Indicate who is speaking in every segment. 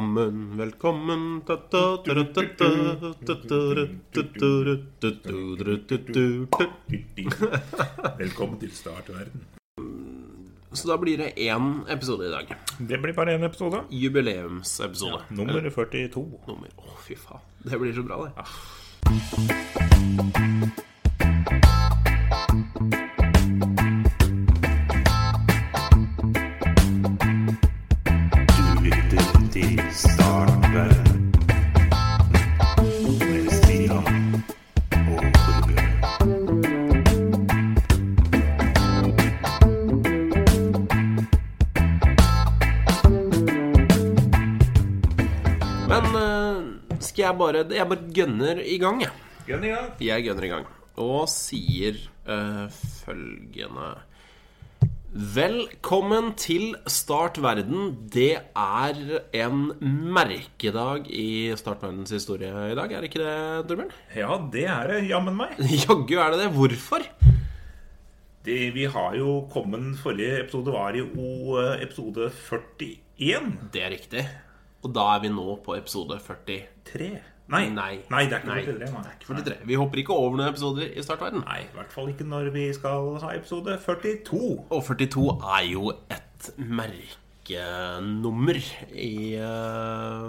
Speaker 1: Velkommen, velkommen ta-ta-ta-ta-ta-ta-ta-ta-ta-ta-ta-ta-ta-ta-ta.
Speaker 2: Velkommen til startverden.
Speaker 1: Så da blir det én episode i dag.
Speaker 2: Det blir bare én episode.
Speaker 1: Jubileumsepisode.
Speaker 2: Nummer 42.
Speaker 1: Nummer Å, fy faen. Det blir så bra, det.
Speaker 3: Du lytter til Startverden med Stian og Torbjørn.
Speaker 1: Men eh, skal jeg bare Jeg bare gønner i gang, jeg.
Speaker 2: Gønn i gang.
Speaker 1: Jeg gønner i gang og sier eh, følgende Velkommen til Start Verden. Det er en merkedag i Start Verdens historie i dag, er det ikke det, Torbjørn?
Speaker 2: Ja, det er det jammen meg.
Speaker 1: Jaggu er det det. Hvorfor?
Speaker 2: Det, vi har jo kommet Forrige episode var jo eh, episode 41.
Speaker 1: Det er riktig. Og da er vi nå på episode 43.
Speaker 2: Tre. Nei.
Speaker 1: Nei.
Speaker 2: det er ikke
Speaker 1: Nei.
Speaker 2: 43. Nei.
Speaker 1: Vi hopper ikke over noen episoder i Start Verden.
Speaker 2: Nei, i hvert fall ikke når vi skal ha episode 42.
Speaker 1: Og 42 er jo et merkenummer i, eh,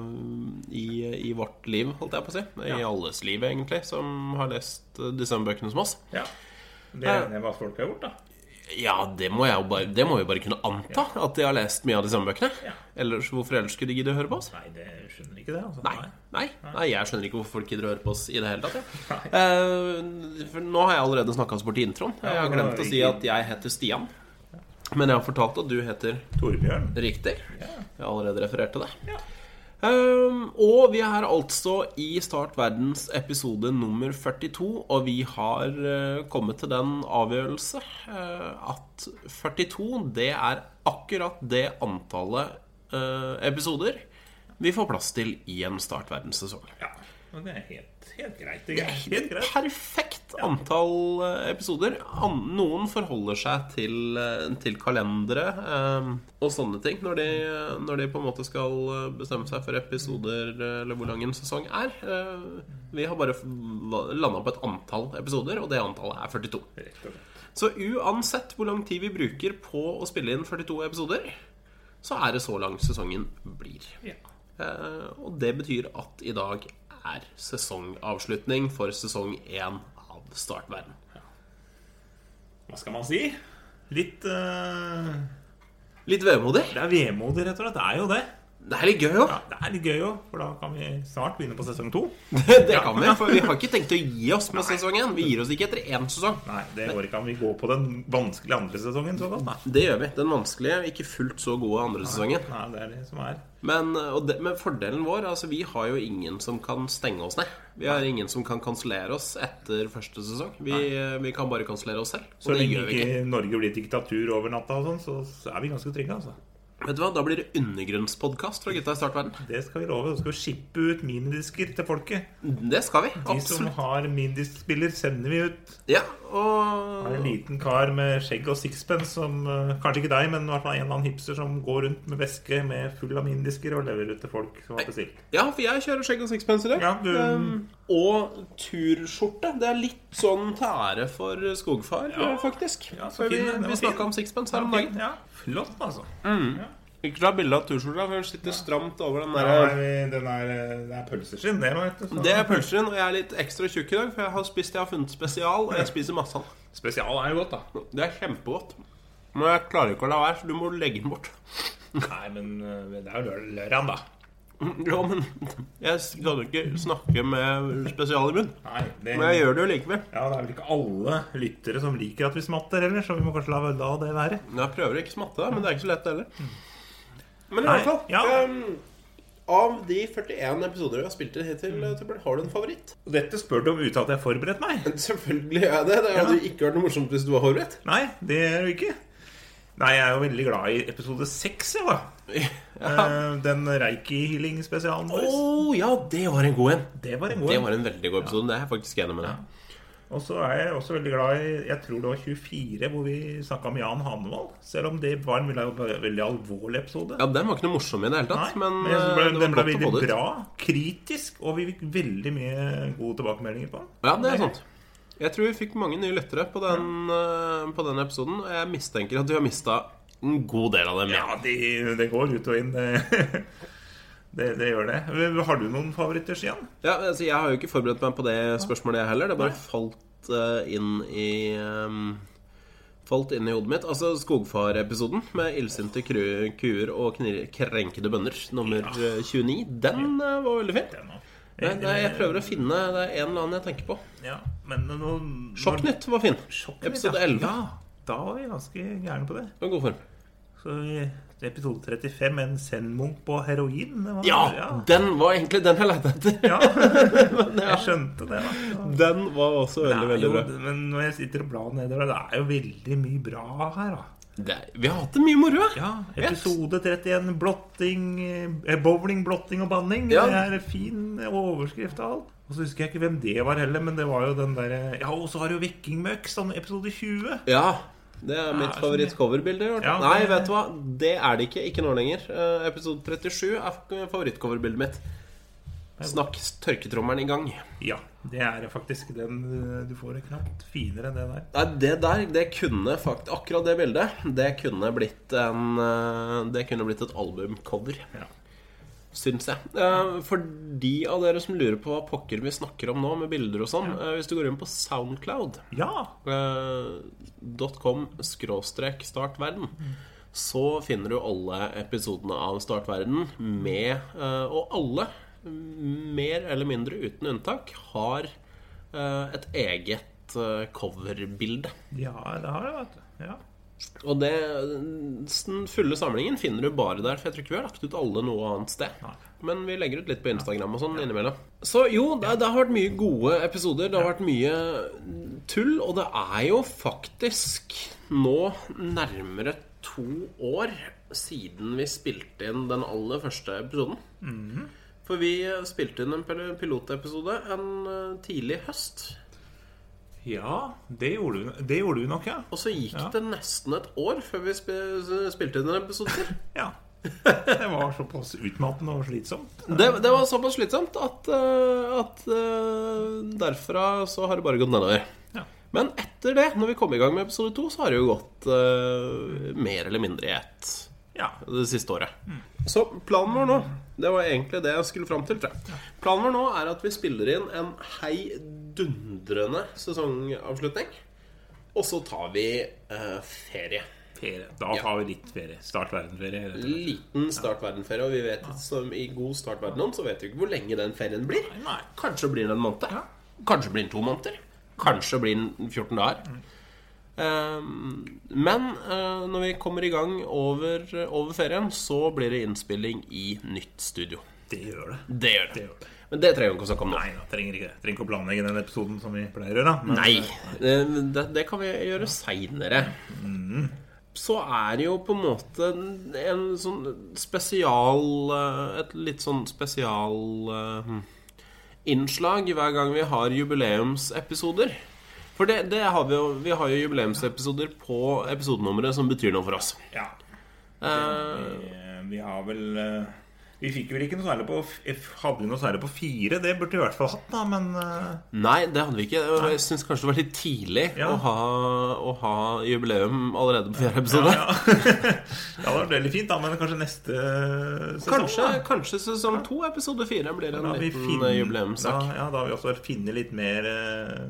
Speaker 1: i, i vårt liv, holdt jeg på å si. I
Speaker 2: Ja.
Speaker 1: alles liv, egentlig, som har lest eh, de samme bøkene som oss.
Speaker 2: Ja. Det regner jeg med at folk har gjort, da.
Speaker 1: Ja, det må, jeg jo bare, det må vi bare kunne anta, at de har lest mye av de samme bøkene.
Speaker 2: Ja.
Speaker 1: Ellers, hvorfor ellers skulle de gidde å høre på oss?
Speaker 2: Nei, det skjønner ikke det. Altså.
Speaker 1: Nei. Nei. Nei, jeg skjønner ikke hvorfor folk gidder å høre på oss i det hele tatt. jeg.
Speaker 2: Nei.
Speaker 1: Eh, for nå har jeg allerede snakka oss bort i introen. Jeg har
Speaker 2: nå er
Speaker 1: glemt
Speaker 2: det
Speaker 1: å si
Speaker 2: ikke-
Speaker 1: at jeg heter Stian. Men jeg har fortalt at du heter
Speaker 2: Torbjørn.
Speaker 1: Riktig. Jeg har allerede referert til det.
Speaker 2: Ja.
Speaker 1: Ehm, og vi er altså i Start verdens episode nummer 42, og vi har eh, kommet til den avgjørelse eh, at 42, det er akkurat det antallet eh, episoder vi får plass til i en Start verdenssesong.
Speaker 2: Ja. Men det er helt, helt greit. Det er helt greit.
Speaker 1: Perfekt antall eh, episoder. An- Noen forholder seg til, eh, til kalendere eh, og sånne ting når de, eh, når de på en måte skal eh, bestemme seg for episoder eh, eller hvor lang en sesong er. Eh, Vi har bare landa på et antall episoder, og det antallet er 42.
Speaker 2: Rett og slett.
Speaker 1: Så uansett hvor lang tid vi bruker på å spille inn 42 episoder, så er det så lang sesongen blir.
Speaker 2: Ja.
Speaker 1: Eh, Og det betyr at i dag er sesongavslutning for sesong 1 av Startverden.
Speaker 2: Hva skal man si? Litt eh,
Speaker 1: Litt vemodig.
Speaker 2: Det er vemodig, rett og slett. Det er jo det.
Speaker 1: Det er litt gøy òg.
Speaker 2: Ja, det er litt gøy òg, for da kan vi snart begynne på sesong to.
Speaker 1: Det kan vi, for vi har ikke tenkt å gi oss med sesong 1. Vi gir oss ikke etter én sesong.
Speaker 2: Nei, det går ikke an. Vi går på den vanskelige andre sesongen. såkalt. Nei.
Speaker 1: Det gjør vi. Den vanskelige, ikke fullt så gode andre sesongen.
Speaker 2: Nei, det er det som er.
Speaker 1: Men, eh, og det, men fordelen vår altså Vi har jo ingen som kan stenge oss ned. Vi har ingen som kan kansellere oss etter første sesong. Vi, eh, vi kan bare kansellere oss selv.
Speaker 2: Så
Speaker 1: Og det
Speaker 2: lenge
Speaker 1: gjør vi ikke.
Speaker 2: ikke Norge blir diktatur over natta, og sånn, så er vi ganske trygge. altså.
Speaker 1: Vet du hva, Da blir det undergrunnspodkast fra gutta i Startverden.
Speaker 2: Det skal vi love. Vi skal skippe ut minidisker til folket.
Speaker 1: Det skal vi.
Speaker 2: De som
Speaker 1: Absolutt.
Speaker 2: har minidiskspiller, sender vi ut.
Speaker 1: Ja,
Speaker 2: Det
Speaker 1: og
Speaker 2: er En liten kar med skjegg og sixpence som eh, Kanskje ikke deg, men i hvert fall en eller annen hipster som går rundt med veske med full av minidisker og leverer ut til folk som har bestilt.
Speaker 1: Ja, for jeg kjører skjegg og sixpence i dag.
Speaker 2: Ja, du-
Speaker 1: Ehm, og turskjorte. Det er litt sånn til ære for skogfar, eh, faktisk.
Speaker 2: Ja, så
Speaker 1: For
Speaker 2: fin,
Speaker 1: vi
Speaker 2: den var
Speaker 1: vi snakka
Speaker 2: fin.
Speaker 1: om sixpence her om dagen.
Speaker 2: Ja, flott, altså.
Speaker 1: Mm. Ikke ta bilde av turskjorta, for den sitter stramt over den
Speaker 2: Ja,
Speaker 1: der.
Speaker 2: vi- den er, det er pølseskinn, det. Vet du, så-
Speaker 1: Det er pølseren, og jeg er litt ekstra tjukk i dag, for jeg har spist jeg har funnet spesial, og jeg spiser masse av den.
Speaker 2: Spesial er jo godt, da.
Speaker 1: Det er kjempegodt. Men jeg klarer ikke å la være, så du må legge den bort.
Speaker 2: Nei, men eh, det er jo lø- lørdag, da.
Speaker 1: Ja, men jeg kan jo ikke snakke med spesial i munnen.
Speaker 2: Nei, det,
Speaker 1: Men jeg gjør det jo likevel.
Speaker 2: ja, det er vel ikke alle lyttere som liker at vi smatter heller, så vi må kanskje la, la det være.
Speaker 1: Men Jeg prøver å ikke smatte, da, men det er ikke så lett heller. Men i
Speaker 2: Mm. Nei,
Speaker 1: hvert fall
Speaker 2: ja.
Speaker 1: ehm, Av de 41 episoder vi har spilt inn
Speaker 2: Mm.
Speaker 1: hittil, Torbjørn, har du en favoritt?
Speaker 2: Og Dette spør du om uten at jeg har forberedt meg.
Speaker 1: Selvfølgelig gjør jeg det. Det hadde ikke vært noe morsomt hvis du var forberedt.
Speaker 2: Nei, det er du ikke. Nei, jeg er jo veldig glad i episode seks, jeg, da. Eh, Den reiki-healing-spesialen
Speaker 1: Å
Speaker 2: vår.
Speaker 1: ja, det var en god en.
Speaker 2: Det var en god
Speaker 1: Det
Speaker 2: en.
Speaker 1: var en veldig god episode. Det er jeg faktisk enig med deg
Speaker 2: Og så er jeg også veldig glad i Jeg tror det var 24 hvor vi snakka med Jan Hanevold. Selv om det var en veldig, veldig alvorlig episode.
Speaker 1: Ja, den var ikke noe morsom i det hele tatt, men,
Speaker 2: jeg synes
Speaker 1: eh,
Speaker 2: ble,
Speaker 1: det
Speaker 2: den
Speaker 1: var
Speaker 2: ble
Speaker 1: godt å få
Speaker 2: veldig
Speaker 1: det ut.
Speaker 2: bra, kritisk, og vi fikk veldig mye gode tilbakemeldinger på den.
Speaker 1: Ja, det er sant. Jeg tror vi fikk mange nye lyttere på den, eh, på den episoden, og jeg mistenker at vi har mista en god del av dem.
Speaker 2: Ja, det de går ut og inn. Det, det, det gjør det. Har du noen favoritter, Stian?
Speaker 1: Ja, altså Jeg har jo ikke forberedt meg på det spørsmålet, jeg heller. Det bare falt eh, inn i ehm, Falt inn i hodet mitt. Altså Skogfar-episoden med illsinte kru- kuer og knir krenkede bønder, nummer eh, 29. Den eh, var veldig fin. Nei, nei, jeg prøver å finne Det er en eller annen jeg tenker på.
Speaker 2: Ja, men noen
Speaker 1: Sjokknytt var fin.
Speaker 2: Sjokknytt,
Speaker 1: Episode
Speaker 2: ja.
Speaker 1: 11.
Speaker 2: Ja, da var vi ganske gærne på det.
Speaker 1: Det var god form.
Speaker 2: Så i episode 35, en zen-munk på heroin. det var-
Speaker 1: Ja!
Speaker 2: ja.
Speaker 1: Den var egentlig den jeg lette etter.
Speaker 2: Ja. Jeg skjønte det. da.
Speaker 1: Den var også
Speaker 2: Det
Speaker 1: veldig,
Speaker 2: er
Speaker 1: veldig
Speaker 2: jo,
Speaker 1: bra.
Speaker 2: men når jeg sitter og blar nedover, det er jo veldig mye bra her, da.
Speaker 1: Det, er- vi har hatt det mye moro.
Speaker 2: Ja, episode 31, blotting, eh, bowling, blotting og banning.
Speaker 1: Ja.
Speaker 2: Det er fin overskrift av alt. Og så husker jeg ikke hvem det var heller, men det var jo den derre Ja, og så har du Vikingmøkk, sånn episode 20.
Speaker 1: Ja. Det er mitt
Speaker 2: Ja,
Speaker 1: favorittcoverbilde. i hvert fall.
Speaker 2: Ja,
Speaker 1: Nei,
Speaker 2: det-
Speaker 1: vet du hva? Det er det ikke. Ikke nå lenger. Eh, episode 37 er f- favorittcoverbildet mitt. Snakk tørketrommelen i gang.
Speaker 2: Ja, det er faktisk den eh, du får knapt finere enn det der.
Speaker 1: Nei, det der, det kunne faktisk Akkurat det bildet, det kunne blitt en eh, Det kunne blitt et albumcover,
Speaker 2: Ja.
Speaker 1: syns jeg. Eh, For de av dere som lurer på hva pokker vi snakker om nå, med bilder og sånn, eh, hvis du går inn på Soundcloud
Speaker 2: ja.
Speaker 1: .com skråstrek startverden Så finner du alle episodene av Startverden med eh, Og alle, mm, mer eller mindre uten unntak, har eh, et eget eh, coverbilde.
Speaker 2: Ja, det har jeg, vet du. Ja.
Speaker 1: Og det, den fulle samlingen finner du bare der, for jeg tror ikke vi har lagt ut alle noe annet sted.
Speaker 2: Nei.
Speaker 1: Men vi legger ut litt på Instagram og sånn innimellom. Så jo, det, det har vært mye gode episoder. Det har vært mye tull. Og det er jo faktisk nå nærmere to år siden vi spilte inn den aller første episoden.
Speaker 2: Mhm.
Speaker 1: For vi spilte inn en pil- pilotepisode en eh, tidlig høst.
Speaker 2: ja det, gjorde du, det gjorde du nok, ja.
Speaker 1: Og så gikk
Speaker 2: Ja.
Speaker 1: det nesten et år før vi sp- spilte inn en episode til.
Speaker 2: ja. Det var såpass utmattende og slitsomt.
Speaker 1: Det, det var såpass slitsomt at, eh, at eh, derfra så har det bare gått nedover.
Speaker 2: Ja.
Speaker 1: Men etter det, når vi kom i gang med episode to, så har det jo gått eh, mer eller mindre i ett
Speaker 2: Ja.
Speaker 1: det siste året. Så planen vår nå Det var egentlig det jeg skulle fram til. Tror jeg. Planen vår nå er at vi spiller inn en heidundrende sesongavslutning. Og så tar vi eh, ferie.
Speaker 2: Ferie. Da tar vi litt ferie. Start verdenferie. Nei,
Speaker 1: Liten startverdenferie, og vi vet som i god startverden så vet vi ikke hvor lenge den ferien blir.
Speaker 2: nei.
Speaker 1: Kanskje blir den en måned. Kanskje blir den to måneder. Kanskje blir den 14 dager.
Speaker 2: Mm.
Speaker 1: Ehm, Men eh, når vi kommer i gang over, over ferien, så blir det innspilling i nytt studio.
Speaker 2: Det gjør det.
Speaker 1: Det gjør det.
Speaker 2: Det gjør det.
Speaker 1: Men det trenger vi ikke å snakke om nå.
Speaker 2: Nei, da trenger ikke det. Trenger ikke å planlegge den episoden som vi pleier å gjøre. da. Men
Speaker 1: Nei, det, det- det kan vi gjøre seinere. Så er det jo på en måte en- en sånn spesial eh, Et litt sånn spesial eh, innslag hver gang vi har jubileumsepisoder. For det, det har vi jo. Vi har jo jubileumsepisoder på episodenummeret som betyr noe for oss.
Speaker 2: Ja.
Speaker 1: Eh,
Speaker 2: Vi, vi har vel eh, Vi fikk vel ikke noe særlig på f- f- Hadde vi noe særlig på fire? Det burde vi i hvert fall hatt, da, men eh,
Speaker 1: Nei, det hadde vi ikke. Jeg syns kanskje det var litt tidlig
Speaker 2: Ja.
Speaker 1: å, ha, å ha jubileum allerede på fjerde episode.
Speaker 2: Ja. ja, det var veldig fint, da, men kanskje neste eh, sesong?
Speaker 1: Kanskje,
Speaker 2: da.
Speaker 1: kanskje sesong to, episode fire, blir en
Speaker 2: Da har vi
Speaker 1: liten eh,
Speaker 2: finner-
Speaker 1: jubileumssak.
Speaker 2: Da, ja, da har vi også funnet litt mer eh,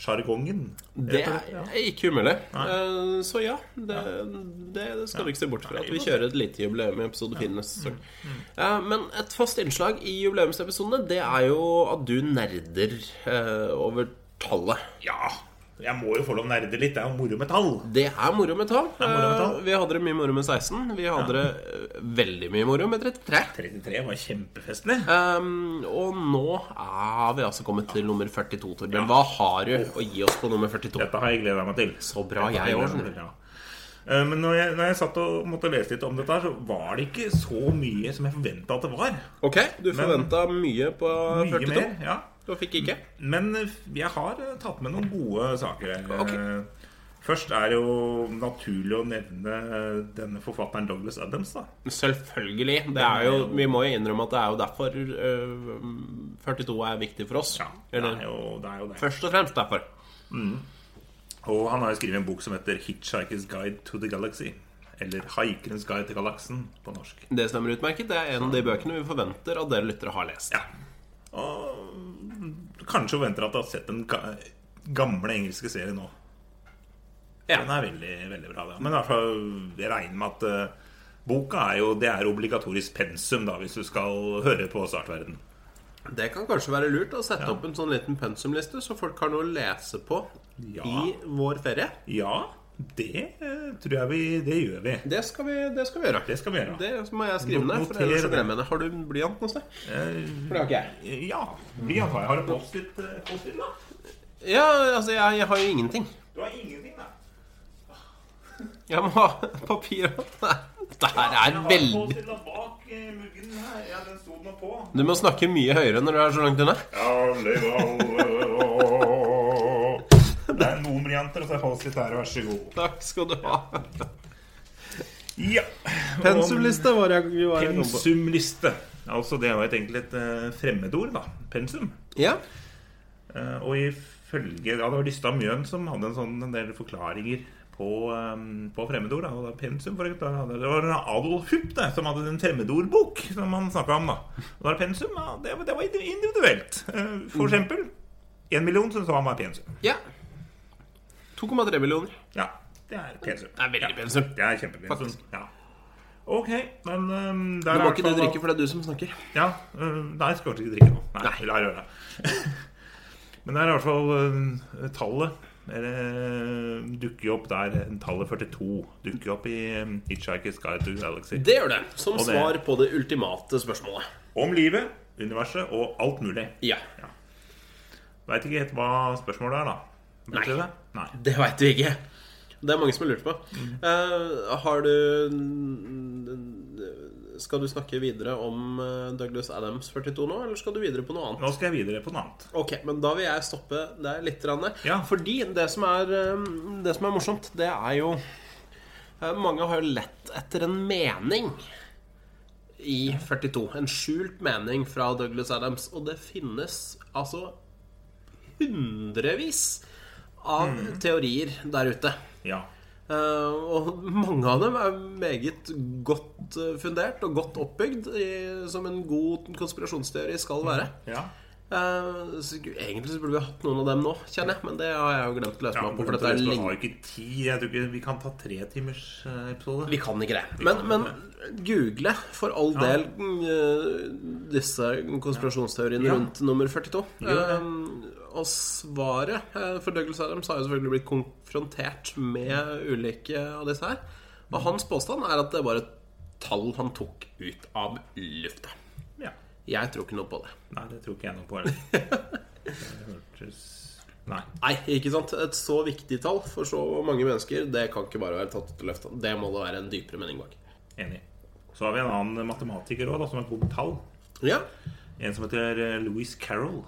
Speaker 2: sjargongen.
Speaker 1: Det
Speaker 2: rett og slett, ja.
Speaker 1: er ikke umulig.
Speaker 2: Nei.
Speaker 1: Eh, Så ja, det, det, det skal du ikke se bort fra.
Speaker 2: Nei,
Speaker 1: At vi
Speaker 2: godt.
Speaker 1: kjører et lite jubileum i episode fire neste sesong.
Speaker 2: Mm,
Speaker 1: Eh, Men et fast innslag i jubileumsepisodene, det er jo at du nerder eh, over tallet.
Speaker 2: Ja! Jeg må jo få lov å nerde litt. Det er jo moro med tall.
Speaker 1: Det er moro med tall.
Speaker 2: er moro med tall.
Speaker 1: Eh, Vi hadde det mye moro med 16. Vi hadde det eh, veldig mye moro med 33.
Speaker 2: 33 var kjempefestlig.
Speaker 1: Ehm, og nå har vi altså kommet til nummer 42, Torbjørn. Hva har du å gi oss på nummer 42?
Speaker 2: Dette har jeg gleda meg til.
Speaker 1: Så bra,
Speaker 2: Dette har
Speaker 1: jeg
Speaker 2: gledet
Speaker 1: også.
Speaker 2: meg til, ja. Eh, Men når jeg, når jeg satt og måtte lese litt om dette, her, så var det ikke så mye som jeg forventa at det var.
Speaker 1: Ok, du forventa mye på
Speaker 2: Mye
Speaker 1: 42.
Speaker 2: mer. ja
Speaker 1: Du fikk ikke?
Speaker 2: Men eh, jeg har tatt med noen gode saker her. Eh,
Speaker 1: Ok.
Speaker 2: Først er det jo naturlig å nevne eh, denne forfatteren Douglas Adams. da
Speaker 1: Selvfølgelig. Det er jo, vi må jo innrømme at det er jo derfor øh, 42 er viktig for oss.
Speaker 2: det
Speaker 1: Eller
Speaker 2: er jo det. Er jo det.
Speaker 1: først og fremst derfor.
Speaker 2: Og han har jo skrevet en bok som heter 'Hitchhiker's Guide to the Galaxy'. Eller 'Haikerens guide til galaksen' på norsk.
Speaker 1: Det stemmer utmerket. Det er en av de bøkene vi forventer at dere lyttere har lest.
Speaker 2: Ja. Og kanskje forventer at du har sett den ga gamle engelske serien nå.
Speaker 1: Ja.
Speaker 2: Den er veldig, veldig bra. Da. Men i hvert fall, jeg regner med at eh, boka er jo Det er obligatorisk pensum da hvis du skal høre på Startverden.
Speaker 1: Det kan kanskje være lurt å sette opp en sånn liten pensumliste, så folk har noe å lese på
Speaker 2: Ja.
Speaker 1: i vår ferie.
Speaker 2: Ja, det eh, tror jeg vi Det gjør vi.
Speaker 1: Det skal vi, det skal vi gjøre.
Speaker 2: Det skal vi gjøre.
Speaker 1: Det må jeg skrive ned. for
Speaker 2: Noter
Speaker 1: ellers så
Speaker 2: det.
Speaker 1: glemmer jeg det. Har du blyant noe sted? For det har ikke jeg.
Speaker 2: Eh, ja. Vi har, har du Post-It, eh, Post-It, da?
Speaker 1: Ja, altså, jeg, jeg har jo ingenting.
Speaker 2: Du har ingenting, da.
Speaker 1: Jeg må ha papir. Det her
Speaker 2: Jeg
Speaker 1: er
Speaker 2: har
Speaker 1: veldig
Speaker 2: Post-It da bak eh, muggen her. Ja, den sto nå på.
Speaker 1: Du må snakke mye høyere når du er så langt unna.
Speaker 2: Det er noen varianter, og så er Post-It her. Vær så god.
Speaker 1: Takk skal du ha.
Speaker 2: Ja.
Speaker 1: Pensumliste var jeg, var jeg kom på.
Speaker 2: Pensumliste. Altså, det var et egentlig et eh, fremmedord, da. Pensum.
Speaker 1: Ja.
Speaker 2: Eh, og ifølge Ja, det var Lystad Mjøen som hadde en, sånn, en del forklaringer på, eh, på fremmedord. Da. Og da pensum, for eksempel, da hadde- det var Adolf Hupp da, som hadde en fremmedordbok som han snakka om. da Og da er pensum ja, det, var- det var indi- individuelt. Eh, for
Speaker 1: Mm.
Speaker 2: eksempel én million syns han var pensum.
Speaker 1: ja. 2,3 millioner.
Speaker 2: Ja, det er pensum.
Speaker 1: Det er veldig
Speaker 2: ja,
Speaker 1: pensum.
Speaker 2: Det er kjempepensum.
Speaker 1: Faktisk.
Speaker 2: Ja. Ok, men um,
Speaker 1: Du
Speaker 2: der er
Speaker 1: må
Speaker 2: i hvert
Speaker 1: ikke du
Speaker 2: fall-
Speaker 1: drikke, for det er du som snakker.
Speaker 2: Ja, øh, nei, jeg skal kanskje ikke drikke nå. Nei,
Speaker 1: Nei.
Speaker 2: la røre. Men det er i hvert fall øh, tallet eller, dukker jo opp der. Tallet 42 dukker jo opp i øh, Hitchhiker's Guide to the Galaxy.
Speaker 1: Det gjør det. Som
Speaker 2: Og det-
Speaker 1: svar på det ultimate spørsmålet.
Speaker 2: Om livet, universet og alt mulig.
Speaker 1: Ja.
Speaker 2: Veit ikke helt hva spørsmålet er, da. Vet
Speaker 1: Nei.
Speaker 2: du det? Nei.
Speaker 1: Det veit vi ikke. Det er mange som har lurt på. Eh, har du Skal du snakke videre om eh, Douglas Adams 42 nå, eller skal du videre på noe annet?
Speaker 2: Nå skal jeg videre på noe annet.
Speaker 1: Ok, men da vil jeg stoppe der litt. grann.
Speaker 2: Ja.
Speaker 1: Fordi det som, er, eh, det som er morsomt, det er jo eh, Mange har jo lett etter en mening i 42. En skjult mening fra Douglas Adams. Og det finnes altså hundrevis av teorier der ute.
Speaker 2: Ja.
Speaker 1: Eh, og mange av dem er meget godt eh, fundert og godt oppbygd, i, som en god konspirasjonsteori skal være.
Speaker 2: Ja.
Speaker 1: Eh, så egentlig så burde vi hatt noen av dem nå, kjenner jeg. Men det har jeg jo glemt å løse
Speaker 2: ja
Speaker 1: meg på. For dette er liksom
Speaker 2: vi
Speaker 1: lenge.
Speaker 2: har jo ikke tid. Jeg tror ikke vi kan ta tre timers øh, episode.
Speaker 1: Vi kan ikke det. Men, men google for all del eh, disse konspirasjonsteoriene
Speaker 2: Ja.
Speaker 1: rundt nummer 42.
Speaker 2: Gjør det.
Speaker 1: Eh, og svaret eh, for Douglas Adams har jo selvfølgelig blitt konfrontert med ulike av disse her. Og hans påstand er at det var et tall han tok ut av lufta.
Speaker 2: Ja.
Speaker 1: Jeg tror ikke noe på det.
Speaker 2: Nei, det tror ikke jeg noe på heller. Det hørtes Nei.
Speaker 1: Nei, ikke sant? Et så viktig tall for så mange mennesker, det kan ikke bare være tatt ut av løfta. Det må det være en dypere mening bak.
Speaker 2: Enig. Så har vi en annen matematiker òg, som er god på tall.
Speaker 1: Ja.
Speaker 2: En som heter eh, Lewis Carroll.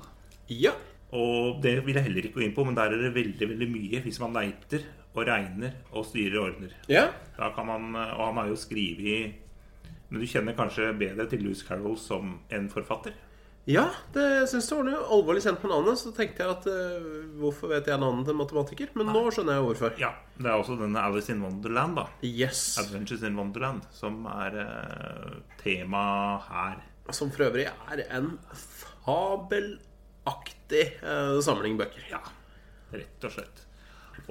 Speaker 1: Ja.
Speaker 2: Og det vil jeg heller ikke gå inn på, men der er det veldig veldig mye hvis man leiter og regner og styrer og ordner.
Speaker 1: Ja.
Speaker 2: Da kan man, eh, Og han har jo skrevet Men du kjenner kanskje bedre til Lewis Carroll som en forfatter?
Speaker 1: ja det syns jeg var noe alvorlig kjent med navnet, så tenkte jeg at eh, hvorfor vet jeg navnet til en matematiker? Men nå skjønner jeg hvorfor.
Speaker 2: Ja. Det er også denne Alice in Wonderland, da.
Speaker 1: Yes.
Speaker 2: Adventures in Wonderland, som er eh, tema her.
Speaker 1: Som for øvrig er en fabelaktig eh, samling bøker.
Speaker 2: Ja, rett og slett.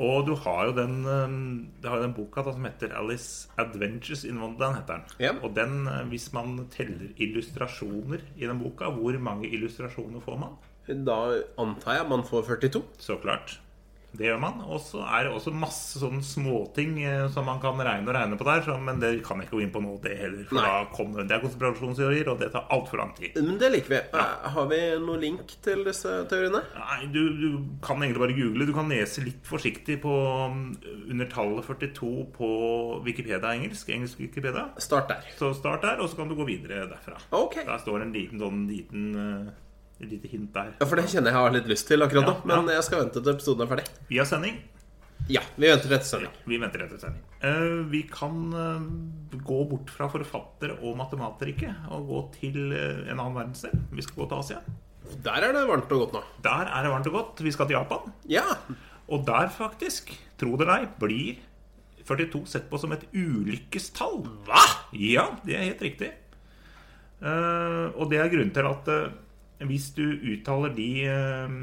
Speaker 2: Og du har jo den, eh, du har jo den boka da, som heter 'Alice Adventures in Wonderland'. heter den.
Speaker 1: Ja.
Speaker 2: Og den, eh, hvis man teller illustrasjoner i den boka, hvor mange illustrasjoner får man?
Speaker 1: Da antar jeg man får 42.
Speaker 2: Så klart. Det gjør man. Og så er det også masse sånne småting eh, som man kan regne og regne på der, så, men det kan jeg ikke gå inn på nå, det heller. For
Speaker 1: Nei.
Speaker 2: da kommer, det er konspirasjonsteorier, og det tar altfor lang tid.
Speaker 1: Men det liker vi. Eh, Har vi noen link til disse teoriene?
Speaker 2: Nei, du, du kan egentlig bare google. Du kan lese litt forsiktig på um, under tallet 42 på Wikipedia engelsk. Engelsk Wikipedia.
Speaker 1: Start der.
Speaker 2: Så start der, og så kan du gå videre derfra.
Speaker 1: Ok.
Speaker 2: Der står en liten, sånn, liten eh, Et lite hint der.
Speaker 1: Ja, for det kjenner jeg har litt lyst til akkurat nå.
Speaker 2: Ja, ja.
Speaker 1: Men jeg skal vente til episoden er ferdig.
Speaker 2: Vi har sending.
Speaker 1: Ja, vi venter etter søndag.
Speaker 2: Vi venter etter sending. Eh, vi kan eh, gå bort fra forfattere og matematikere og gå til eh, en annen verdensdel. Vi skal gå til Asia.
Speaker 1: Der er det varmt og godt nå.
Speaker 2: Der er det varmt og godt. Vi skal til Japan.
Speaker 1: Ja.
Speaker 2: Og der faktisk, tro det eller ei, blir 42 sett på som et ulykkestall.
Speaker 1: Hva?!
Speaker 2: Ja, det er helt riktig. Eh, og det er grunnen til at eh, hvis du uttaler de eh,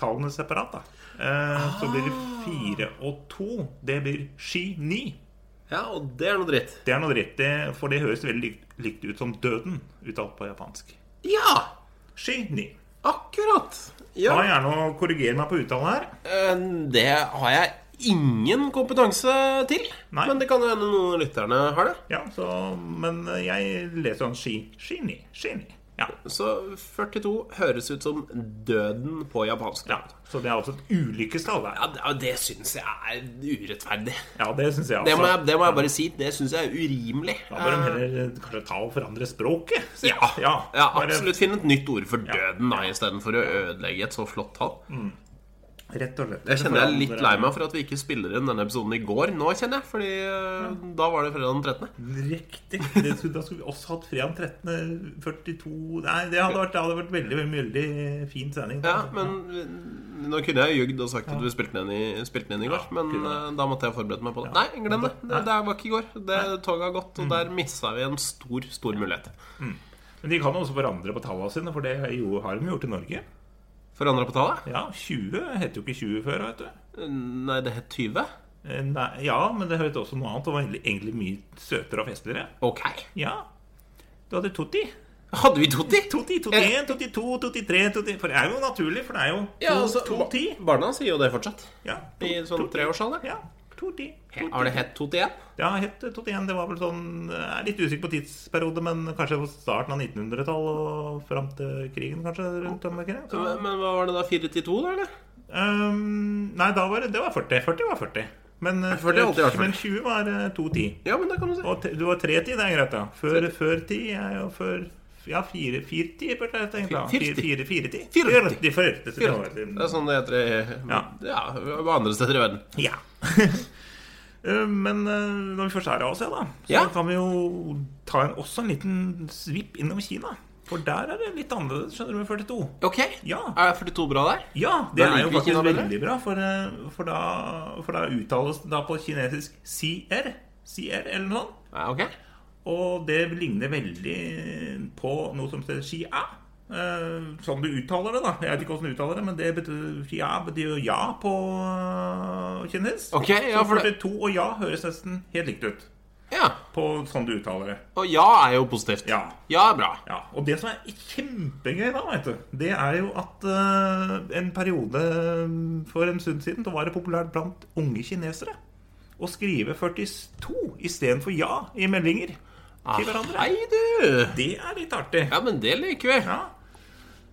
Speaker 2: tallene separat, da, eh, så blir det fire og to. Det blir sky ni.
Speaker 1: Ja, og det er noe dritt.
Speaker 2: Det er noe dritt, det- for det høres veldig likt, likt ut som døden, uttalt på japansk.
Speaker 1: Ja!
Speaker 2: Sky ni.
Speaker 1: Akkurat. Ja.
Speaker 2: Ta gjerne og korrigere meg på uttalen her.
Speaker 1: Eh, Det har jeg ingen kompetanse til.
Speaker 2: Nei.
Speaker 1: Men det kan jo hende noen av lytterne har det.
Speaker 2: Ja, så, men eh, jeg leser sånn ski, skini, skini. Ja.
Speaker 1: Så 42 høres ut som døden på japansk.
Speaker 2: ja, så det er også et ulykkestall der.
Speaker 1: Ja, det, det syns jeg er urettferdig.
Speaker 2: Ja, det syns jeg
Speaker 1: Det må,
Speaker 2: også.
Speaker 1: jeg, det må jeg bare si. Det syns jeg er urimelig.
Speaker 2: Da bør de heller eh, kanskje ta og forandre språket. sier
Speaker 1: Ja,
Speaker 2: jeg.
Speaker 1: ja,
Speaker 2: bare
Speaker 1: absolutt. Finn et nytt ord for døden da, istedenfor å ødelegge et så flott tall.
Speaker 2: Mm. Rett og slett.
Speaker 1: Jeg kjenner jeg er litt lei meg for at vi ikke spiller inn denne episoden i går. Nå kjenner jeg, fordi eh, da var det fredag den
Speaker 2: Mm.
Speaker 1: 13.
Speaker 2: Riktig. Det skulle, da skulle vi også hatt fredag 13.42 Nei, det hadde vært, det hadde vært veldig, veldig fin sending.
Speaker 1: Ja, men eh, nå kunne jeg jugd og sagt at vi spilte den inn i, spilte den inn i går, men eh, da måtte jeg forberede meg på det. Nei, glem det. Det, det var ikke i går. Det toget har gått,
Speaker 2: Mm.
Speaker 1: og der missa vi en stor, stor mulighet.
Speaker 2: Men de kan jo også forandre på tallene sine, for det jo, har de jo gjort i Norge.
Speaker 1: Forandra på tallet?
Speaker 2: Ja, 20 heter jo ikke 20 før, vet du.
Speaker 1: Nei, det het 20.
Speaker 2: Eh, Nei, ja, men det høres også noe annet og var egentlig, egentlig mye søtere og festligere.
Speaker 1: Ok.
Speaker 2: Ja. Du hadde Totti.
Speaker 1: Hadde vi Totti?
Speaker 2: Totti, Totti 1, Totti 2, Totti 3 Totti For det er jo naturlig, for det er jo to,
Speaker 1: Ja, altså,
Speaker 2: to
Speaker 1: ba-
Speaker 2: ti.
Speaker 1: Barna sier jo det fortsatt.
Speaker 2: Ja, to,
Speaker 1: I sånn
Speaker 2: Totti.
Speaker 1: treårsalder.
Speaker 2: Ja, Totti. Totti.
Speaker 1: Har det hett Totti igjen?
Speaker 2: Det har hett Totti 1. Det var vel sånn Jeg er litt usikker på tidsperiode, men kanskje på starten av 1900-tallet og fram til krigen, kanskje, rundt om ikke det? Så,
Speaker 1: Men men hva var det da? 4-2, da, eller?
Speaker 2: ehm, nei, da var det Det var 40. 40 var 40. Men, eh,
Speaker 1: 40 har alltid vært 40.
Speaker 2: men 20 var eh, 210.
Speaker 1: Ja, men det kan du si.
Speaker 2: Og te, du har 3-10, det er greit, da. Før, før 10 er jo før Ja, 4-10 burde jeg tenkt, da.
Speaker 1: 40.
Speaker 2: 4-10. 40.
Speaker 1: 40.
Speaker 2: 40. 40. så det var
Speaker 1: Det er
Speaker 2: det.
Speaker 1: sånn det heter i ja.
Speaker 2: Ja.
Speaker 1: andre steder i verden.
Speaker 2: Ja. Eh, Men eh, når vi først er i Asia, da, så
Speaker 1: Ja.
Speaker 2: kan vi jo ta en, også en liten svipp innom Kina. For der er det litt annerledes, skjønner du, med 42.
Speaker 1: Ok.
Speaker 2: Ja.
Speaker 1: Er 42 bra der?
Speaker 2: Ja, det
Speaker 1: Da
Speaker 2: er
Speaker 1: liker
Speaker 2: jo
Speaker 1: vi
Speaker 2: faktisk
Speaker 1: Kina bedre.
Speaker 2: veldig bra, for, eh, for, da, for da uttales det da på kinesisk CR. CR eller noe sånt.
Speaker 1: Ja, ok.
Speaker 2: Og det ligner veldig på noe som heter Xia. Eh, sånn du uttaler det, da. Jeg vet ikke hvordan du uttaler det, men det betyr Xia betyr jo ja på eh, kinesisk.
Speaker 1: Ok, ja,
Speaker 2: Så
Speaker 1: for det
Speaker 2: 42 og ja høres nesten helt likt ut
Speaker 1: Ja.
Speaker 2: på sånn du uttaler det.
Speaker 1: Og ja er jo positivt.
Speaker 2: Ja.
Speaker 1: Ja er bra.
Speaker 2: ja. Og det som er kjempegøy da, vet du, det er jo at eh, en periode for en stund siden så var det populært blant unge kinesere å skrive 42 istedenfor ja i meldinger til hverandre.
Speaker 1: Hei, du!
Speaker 2: Det er litt artig.
Speaker 1: Ja, men det liker vi.
Speaker 2: Ja.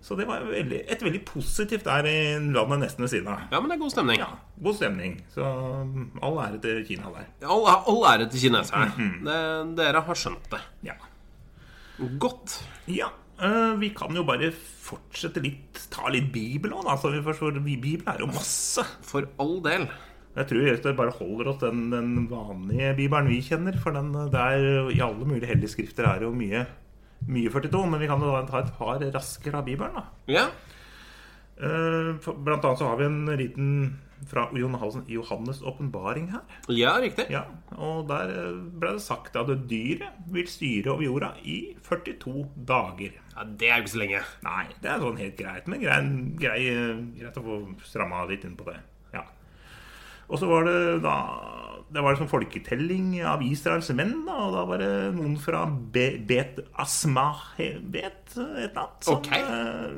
Speaker 2: Så det var veldig, et veldig positivt der i landet nesten ved siden av.
Speaker 1: Ja, men det er god stemning.
Speaker 2: Ja, God stemning. Så mm, all ære til Kina der.
Speaker 1: All, all ære til kineserne.
Speaker 2: Mhm.
Speaker 1: Det- Dere har skjønt det.
Speaker 2: Ja.
Speaker 1: Godt.
Speaker 2: ja. eh, Vi kan jo bare fortsette litt, ta litt Bibel òg, da. Så vi forstår, vi- Bibel er jo masse.
Speaker 1: For all del.
Speaker 2: Jeg tror vi bare holder oss den, den vanlige bibelen vi kjenner. For den eh, det er jo- i alle mulige hellige skrifter er det jo mye, mye 42. Men vi kan jo da ta et par raskere av Bibelen, da.
Speaker 1: Ja.
Speaker 2: Eh, for- Blant annet så har vi en liten fra Johannes- Johannes' åpenbaring her.
Speaker 1: Ja, riktig.
Speaker 2: Ja, og der eh, ble det sagt at dyret vil styre over jorda i 42 dager.
Speaker 1: Ja, Det er jo ikke så lenge.
Speaker 2: Nei, det er sånn helt greit, men grei, grei, eh, greit å få stramma litt inn på det. Ja. Og så var det da Det var sånn folketelling av Israels menn, da, og da var det noen fra Be Bet Asmahebet, et eller annet, som
Speaker 1: Ok.
Speaker 2: eh,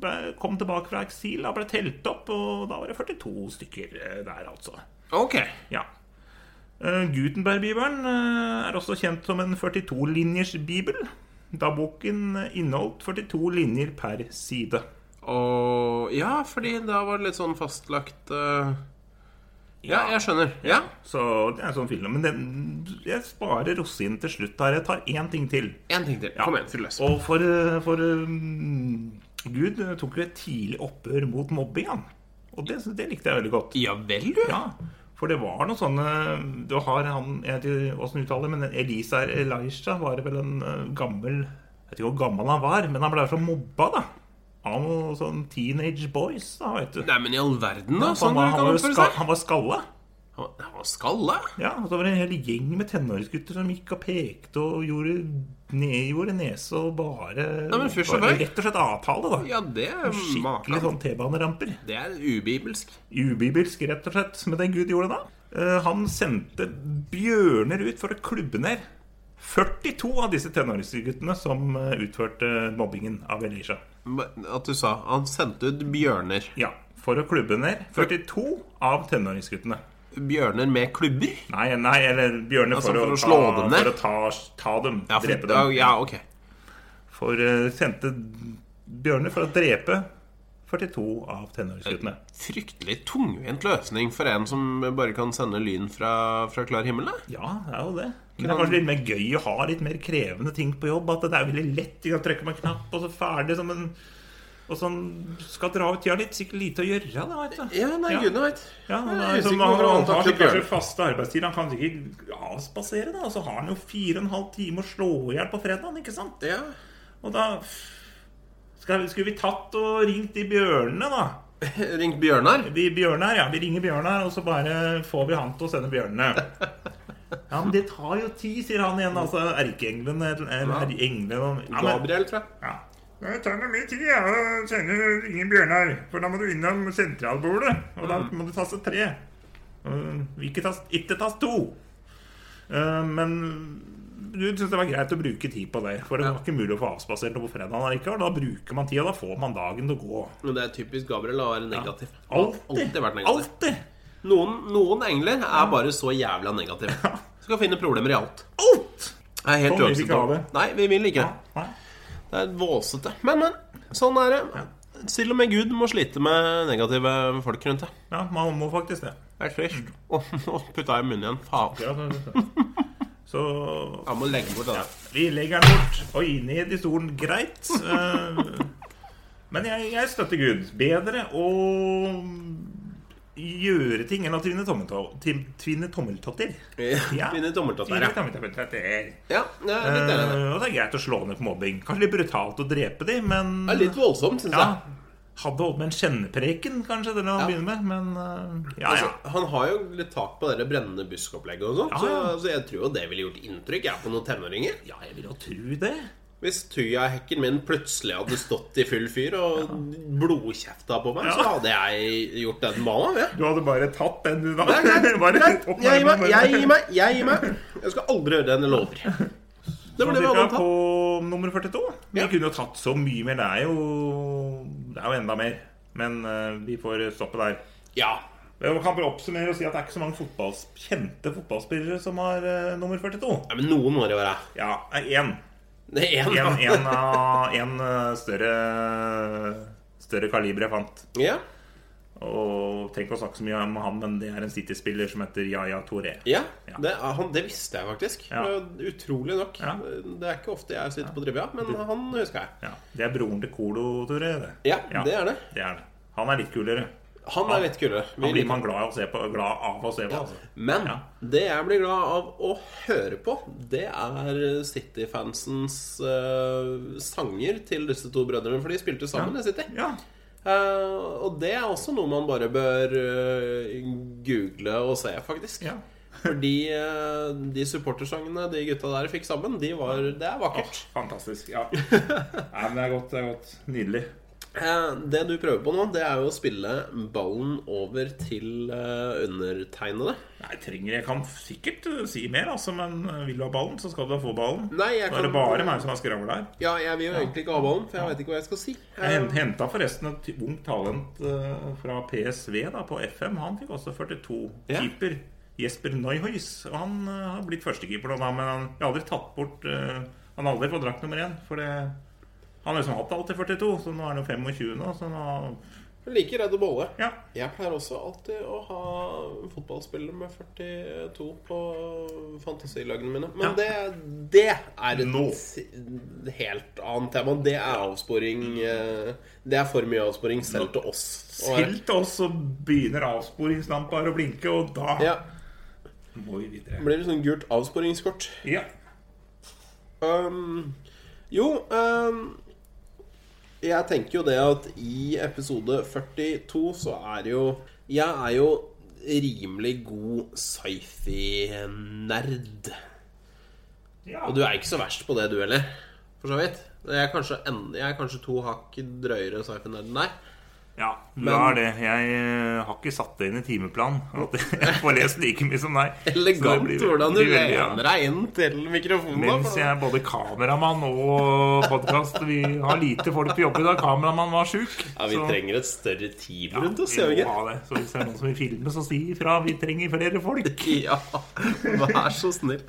Speaker 2: ble, kom tilbake fra eksil og ble telt opp, og da var det 42 stykker eh, der, altså.
Speaker 1: Ok.
Speaker 2: Ja. Eh, Gutenberg-bibelen eh, er også kjent som en 42-linjers bibel, da boken inneholdt 42 linjer per side.
Speaker 1: Og Ja, fordi da var det litt sånn fastlagt eh, Ja, jeg skjønner. Ja.
Speaker 2: Så det er en sånn film. Men den, jeg sparer rosinen til slutt her. Jeg tar én ting til.
Speaker 1: Én ting til. Kom igjen, fyll løs.
Speaker 2: Og for, eh, for eh, Gud eh, tok jo et tidlig oppgjør mot mobbing, han. Og det, det likte jeg veldig godt.
Speaker 1: Ja vel, du.
Speaker 2: Ja, for det var noe sånne Du har han, jeg vet ikke hvordan du uttaler det, men Elisa Elisha var vel en eh, gammel Jeg vet ikke hvor gammel han var, men han ble så mobba, da. Av noen sånne teenage boys, da, vet du.
Speaker 1: Nei, men i all verden, da.
Speaker 2: Han,
Speaker 1: Sånn
Speaker 2: var,
Speaker 1: du
Speaker 2: han,
Speaker 1: kan
Speaker 2: var,
Speaker 1: oppføre
Speaker 2: ska,
Speaker 1: seg.
Speaker 2: han var skalla.
Speaker 1: Han var- han var skalla.
Speaker 2: Ja, og så var det en hel gjeng med tenåringsgutter som gikk og pekte og gjorde, ne, gjorde nese og bare,
Speaker 1: Nei, men fyrst og
Speaker 2: bare
Speaker 1: fremst.
Speaker 2: Rett og slett avtale, da.
Speaker 1: Ja, det er
Speaker 2: Skikkelig
Speaker 1: maken.
Speaker 2: sånn T-baneramper.
Speaker 1: Det er ubibelsk.
Speaker 2: Ubibelsk, rett og slett. Men det Gud gjorde da eh, Han sendte bjørner ut for å klubbe ned 42 av disse tenåringsguttene som eh, utførte mobbingen av Elisha.
Speaker 1: Men At du sa han sendte ut bjørner.
Speaker 2: Ja, for å klubbe ned 42 av tenåringsguttene.
Speaker 1: Bjørner med klubber?
Speaker 2: Nei, nei, eller bjørner
Speaker 1: Altså,
Speaker 2: for,
Speaker 1: for
Speaker 2: å,
Speaker 1: å slå
Speaker 2: ta,
Speaker 1: dem ned?
Speaker 2: For å ta, ta dem,
Speaker 1: Ja, for,
Speaker 2: drepe dem.
Speaker 1: ja ok.
Speaker 2: For eh, sendte bjørner for å drepe 42 av tenåringsguttene.
Speaker 1: Fryktelig tungvint løsning for en som bare kan sende lyn fra, fra klar himmel. da.
Speaker 2: Ja, det er jo det. Men det er kanskje litt mer gøy å ha litt mer krevende ting på jobb. At det er veldig lett. Du kan trykke på en knapp, og så ferdig som en Og sånn skal dra ut tida litt. Sikkert lite å gjøre, da, vet du.
Speaker 1: Ja, nei,
Speaker 2: Ja.
Speaker 1: gudene veit.
Speaker 2: Ja, han,
Speaker 1: Jeg
Speaker 2: er,
Speaker 1: er
Speaker 2: som,
Speaker 1: usikker på
Speaker 2: han,
Speaker 1: hvordan
Speaker 2: han
Speaker 1: han
Speaker 2: har
Speaker 1: takler
Speaker 2: kanskje
Speaker 1: bjørn.
Speaker 2: faste arbeidstider. Han kan sikkert avspasere, da. Og så har han jo fire og en halv time å slå i hjel på fredagen, ikke sant?
Speaker 1: Ja.
Speaker 2: Og da skal, Skulle vi tatt og ringt de bjørnene, da?
Speaker 1: Ringt Bjørnar?
Speaker 2: Vi Bjørnar, ja, vi ringer Bjørnar, og så bare får vi han til å sende bjørnene. Ja, men det tar jo tid, sier han igjen, altså erkeengelen eller- eller erkeengelen. Ja, men,
Speaker 1: Gabriel, tror jeg.
Speaker 2: ja. Nei, Det tar noe mer tid ja, å sende ringe Bjørnar, for da må du innom sentralbordet, og da må du taste tre. Og Ikke tast, ikke tast to. Eh, Men du syntes det var greit å bruke tid på det, for det var ikke mulig å få avspasert noe på fredagen likevel. Da bruker man tid, og da får man dagen til å gå.
Speaker 1: Men det er typisk Gabriel å være negativ. Han har
Speaker 2: Alltid.
Speaker 1: vært negativ.
Speaker 2: Alltid.
Speaker 1: Noen, noen engler er bare så jævla negative. Skal finne problemer i alt.
Speaker 2: Alt!
Speaker 1: Jeg er helt
Speaker 2: Sånn vil
Speaker 1: uakseptabel.
Speaker 2: vi ikke ha det.
Speaker 1: Nei, vi vil ikke det. Det er våsete. Men, men. Sånn er det. Til og med Gud må slite med negative folk rundt deg.
Speaker 2: Ja, man må faktisk det.
Speaker 1: Det er
Speaker 2: Mm.
Speaker 1: trist. Og nå putta jeg i munnen igjen. Faen.
Speaker 2: Så
Speaker 1: Jeg må legge bort det der.
Speaker 2: vi legger den bort og inn i historien. Greit. Eh, Men jeg, jeg støtter Gud. Bedre å gjøre ting enn å tvinne, tommeltå- tim- tvinne tommeltotter. Ja.
Speaker 1: Mine tommeltotter.
Speaker 2: Tvinne
Speaker 1: Ja.
Speaker 2: tommeltotter.
Speaker 1: ja, jeg er litt enig i det.
Speaker 2: Eh, Og det er greit å slå ned på mobbing. Kanskje litt brutalt å drepe dem, men
Speaker 1: Det er litt voldsomt, syns
Speaker 2: ja,
Speaker 1: jeg.
Speaker 2: Hadde holdt med en kjennepreken, kanskje, til å begynne med. Men eh, ja, ja.
Speaker 1: Altså, han har jo litt tak på det der brennende buskopplegget og sånn,
Speaker 2: Ja,
Speaker 1: så,
Speaker 2: ja.
Speaker 1: så jeg tror jo det ville gjort inntrykk jeg, på noen tenåringer.
Speaker 2: Ja, jeg vil jo tro det.
Speaker 1: Hvis tujahekken min plutselig hadde stått i full fyr og blodkjefta på meg,
Speaker 2: Ja.
Speaker 1: så hadde jeg gjort den malen. Ja.
Speaker 2: Du hadde bare tatt den, du, da.
Speaker 1: Nei, nei,
Speaker 2: Bare
Speaker 1: nei,
Speaker 2: opp med
Speaker 1: Jeg gir meg,
Speaker 2: den,
Speaker 1: jeg gir meg, jeg gir meg. Jeg skal aldri høre den lover. Det
Speaker 2: Sånn
Speaker 1: ble vi
Speaker 2: cirka
Speaker 1: alle
Speaker 2: på
Speaker 1: tatt.
Speaker 2: nummer 42. Vi
Speaker 1: Ja.
Speaker 2: kunne jo tatt så mye mer. Det er jo, det er jo enda mer. Men eh, vi får stoppe der.
Speaker 1: Ja.
Speaker 2: Vi kan bare oppsummere og si at det er ikke så mange fotballs, kjente fotballspillere som har eh, nummer 42.
Speaker 1: Nei, men noen må det være.
Speaker 2: Ja, én.
Speaker 1: Det er
Speaker 2: En,
Speaker 1: én.
Speaker 2: en, av- en eh, større Større kaliber jeg fant.
Speaker 1: Ja.
Speaker 2: Og trenger ikke å snakke så mye om han, men det er en City-spiller som heter Yaya Touré.
Speaker 1: Ja,
Speaker 2: Ja.
Speaker 1: det, er- han, det visste jeg faktisk.
Speaker 2: Ja.
Speaker 1: Det er Utrolig nok.
Speaker 2: Ja. Mm.
Speaker 1: Det er ikke ofte jeg sitter på trivia, men han husker jeg.
Speaker 2: Ja, det er broren til Colo Touré, det.
Speaker 1: Ja, det er det.
Speaker 2: Det er det. Han er litt kulere.
Speaker 1: Han er litt kulere. Vi
Speaker 2: Han blir
Speaker 1: liker
Speaker 2: man glad, av å se på, glad av å se på.
Speaker 1: han.
Speaker 2: Altså.
Speaker 1: Men
Speaker 2: Ja.
Speaker 1: det jeg blir glad av å høre på, det er City-fansens eh, sanger til disse to brødrene, for de spilte jo sammen i City.
Speaker 2: Ja.
Speaker 1: Eh, og det er også noe man bare bør eh, google og se, faktisk.
Speaker 2: ja.
Speaker 1: Fordi eh, de supportersangene de gutta der fikk sammen, de var, det er vakkert.
Speaker 2: Fantastisk. Ja. Nei, men det er godt. det er godt. Nydelig.
Speaker 1: Eh, Det du prøver på nå, det er jo å spille ballen over til eh, undertegnede.
Speaker 2: Nei, trenger Jeg kan sikkert uh, si mer, altså, men uh, vil du ha ballen, så skal du da få ballen.
Speaker 1: Nei, jeg
Speaker 2: Da er det
Speaker 1: kan-
Speaker 2: bare meg som har skravla her.
Speaker 1: Ja, jeg vil jo egentlig ikke ha ballen, for jeg veit ikke hva jeg skal si.
Speaker 2: Jeg
Speaker 1: Eh,
Speaker 2: henta forresten et ungt talent uh, fra PSV da, på FM. Han fikk også 42.
Speaker 1: Ja.
Speaker 2: Keeper Jesper Neuhaus. Og han uh, har blitt førstekeeper nå, da, men han jeg har aldri tatt bort uh, Han har aldri fått drakt nummer én. For det, han har liksom hatt alt til 42, så nå er han jo 25 nå, så nå
Speaker 1: Like redd bolle.
Speaker 2: Ja.
Speaker 1: Jeg pleier også alltid å ha fotballspillere med 42 på fantasilagene mine. Men
Speaker 2: Ja.
Speaker 1: det, det er et
Speaker 2: Nå.
Speaker 1: si- helt annet tema. Det er avsporing eh, Det er for mye avsporing selv til oss. å være.
Speaker 2: Selv til oss så begynner avsporingslamper å blinke, og da
Speaker 1: Ja,
Speaker 2: må vi videre.
Speaker 1: blir det sånn gult avsporingskort.
Speaker 2: Ja.
Speaker 1: Um, jo um, Jeg tenker jo det at i episode 42 så er jo Jeg er jo rimelig god sci-fi-nerd.
Speaker 2: ja.
Speaker 1: Og du er ikke så verst på det, du heller. For så vidt. Jeg er kanskje, en, jeg er kanskje to hakk drøyere sci-fi-nerd enn deg.
Speaker 2: Ja, du
Speaker 1: Men-
Speaker 2: er det. Jeg eh, har ikke satt det inn i timeplanen. At jeg får lest like mye som deg. Så det
Speaker 1: Elegant
Speaker 2: blir-
Speaker 1: hvordan du
Speaker 2: blir veldig, ja.
Speaker 1: lener deg inn til mikrofonen. da,
Speaker 2: Mens
Speaker 1: for-
Speaker 2: jeg er både kameramann og podkast. Vi har lite folk på jobb i dag. Kameramann var sjuk.
Speaker 1: Ja, vi
Speaker 2: så-
Speaker 1: trenger et større team
Speaker 2: Ja,
Speaker 1: rundt oss,
Speaker 2: vi
Speaker 1: gjør vi
Speaker 2: må
Speaker 1: ikke?
Speaker 2: ha det. Så hvis det er noen som vil filme, så si ifra. Vi trenger flere folk.
Speaker 1: Ja, vær så snill.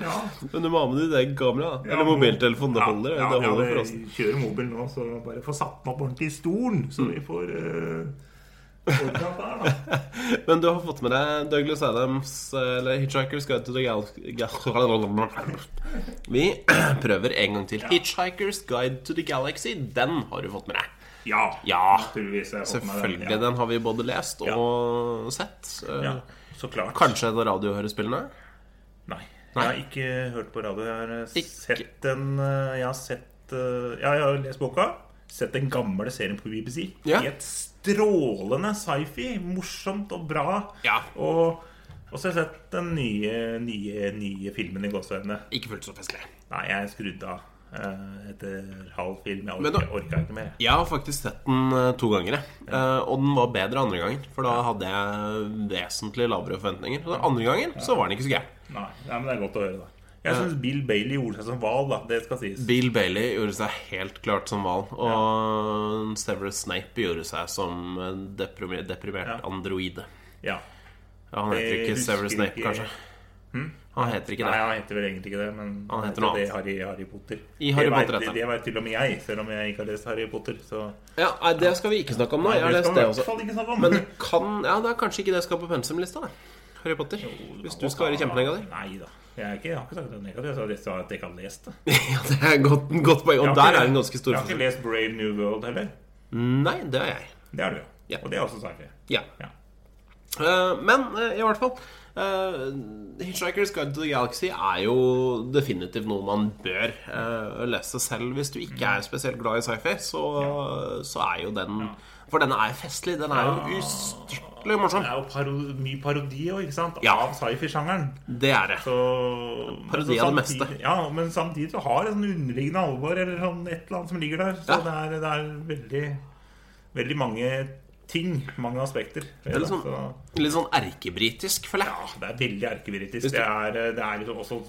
Speaker 1: Men du må ha med ditt eget kamera. da.
Speaker 2: Ja,
Speaker 1: Eller
Speaker 2: må-
Speaker 1: mobiltelefon. Det holder.
Speaker 2: Ja,
Speaker 1: det holder
Speaker 2: ja,
Speaker 1: for oss.
Speaker 2: vi kjører mobil nå, så bare få satt den opp ordentlig i stolen, så
Speaker 1: Mm.
Speaker 2: vi får eh, ordnet der, da.
Speaker 1: Men du har fått med deg Douglas Adams eller Hitchhiker's Guide to the Galaxy Vi prøver en gang til. Hitchhiker's Guide to the Galaxy, den har du fått med deg.
Speaker 2: Ja,
Speaker 1: Ja,
Speaker 2: naturligvis. har jeg fått med den,
Speaker 1: Selvfølgelig. Den har vi både lest og sett. Eh,
Speaker 2: Ja. ja, så klart.
Speaker 1: Kanskje et av radiohørespillene?
Speaker 2: Nei. Jeg har ikke hørt på radio. Jeg har eh,
Speaker 1: Ikke.
Speaker 2: sett den eh, Jeg har sett eh, Ja, jeg har lest boka. Sett den gamle serien på BBC.
Speaker 1: Ja.
Speaker 2: I et strålende sci-fi. Morsomt og bra.
Speaker 1: Ja.
Speaker 2: Og, og så har jeg sett den nye, nye, nye filmen i gåseøynene.
Speaker 1: Ikke fullt så festlig.
Speaker 2: Nei, jeg skrudde av eh, etter halv film. Jeg
Speaker 1: Men da-
Speaker 2: orka, orka ikke mer.
Speaker 1: Jeg har faktisk sett den eh, to ganger, jeg. Eh, og den var bedre andre gangen. For da hadde jeg vesentlig lavere forventninger. Og den andre gangen så var den ikke så gæren.
Speaker 2: Nei, nei, men det er godt å høre, da. Jeg syns Bill Bailey gjorde seg som hval, da. Det skal sies.
Speaker 1: Bill Bailey gjorde seg helt klart som hval. Og Severus Snape gjorde seg som en deprimert, deprimert
Speaker 2: Ja.
Speaker 1: androide.
Speaker 2: Ja.
Speaker 1: Ja, han heter
Speaker 2: Jeg
Speaker 1: ikke Hm?
Speaker 2: husker
Speaker 1: Severus Snape,
Speaker 2: ikke-
Speaker 1: kanskje. Han heter ikke
Speaker 2: Nei,
Speaker 1: det.
Speaker 2: han heter vel egentlig ikke det, men
Speaker 1: Han heter
Speaker 2: heter
Speaker 1: noe
Speaker 2: det
Speaker 1: annet.
Speaker 2: Harry, Harry Potter.
Speaker 1: I Harry
Speaker 2: det
Speaker 1: Potter
Speaker 2: vet-
Speaker 1: heter han.
Speaker 2: Det vet til og med jeg, selv om jeg ikke har lest Harry Potter. Så
Speaker 1: Ja, nei, Det skal vi ikke snakke om nå. Jeg har
Speaker 2: Nei,
Speaker 1: lest det
Speaker 2: skal vi i hvert
Speaker 1: også.
Speaker 2: fall ikke snakke om.
Speaker 1: Men kan Ja, det er kanskje ikke det skal på pensumlista, da. Harry Potter. Hvis du skal være kjempenegativ.
Speaker 2: Nei da. Jeg, er ikke, jeg har ikke sagt det er negativt. Jeg har bare sagt at jeg ikke har lest det.
Speaker 1: Ja, det er et godt, godt poeng.
Speaker 2: Jeg
Speaker 1: Og
Speaker 2: har
Speaker 1: der
Speaker 2: ikke-
Speaker 1: er det en ganske stor
Speaker 2: Jeg har ikke
Speaker 1: forskjell.
Speaker 2: lest Brave New World heller.
Speaker 1: Nei, det er jeg.
Speaker 2: Det har du,
Speaker 1: Ja.
Speaker 2: ja. Og det er også sci-fi.
Speaker 1: Ja.
Speaker 2: Ja.
Speaker 1: Eh, Men eh, i hvert fall eh, Hitchhiker's Guide to the Galaxy er jo definitivt noe man bør eh, lese selv hvis du ikke er spesielt glad i sci-fi. Så, så er jo den For den er festlig. Den er jo ustyrtelig morsom.
Speaker 2: Det er jo paro mye parodi også, ikke sant?
Speaker 1: Ja.
Speaker 2: av sci-fi-sjangeren.
Speaker 1: Det er det.
Speaker 2: Så,
Speaker 1: Parodi
Speaker 2: men så
Speaker 1: av det
Speaker 2: samtidig-
Speaker 1: meste.
Speaker 2: Ja, men samtidig så har det sånn underliggende alvor eller sånn et eller annet som ligger der. Så
Speaker 1: Ja.
Speaker 2: det, er, det er veldig, veldig mange ting, mange aspekter.
Speaker 1: Det er litt sånn,
Speaker 2: så,
Speaker 1: litt sånn erkebritisk, føler jeg.
Speaker 2: ja, det er veldig erkebritisk.
Speaker 1: Hvis du-
Speaker 2: Det er, det er liksom også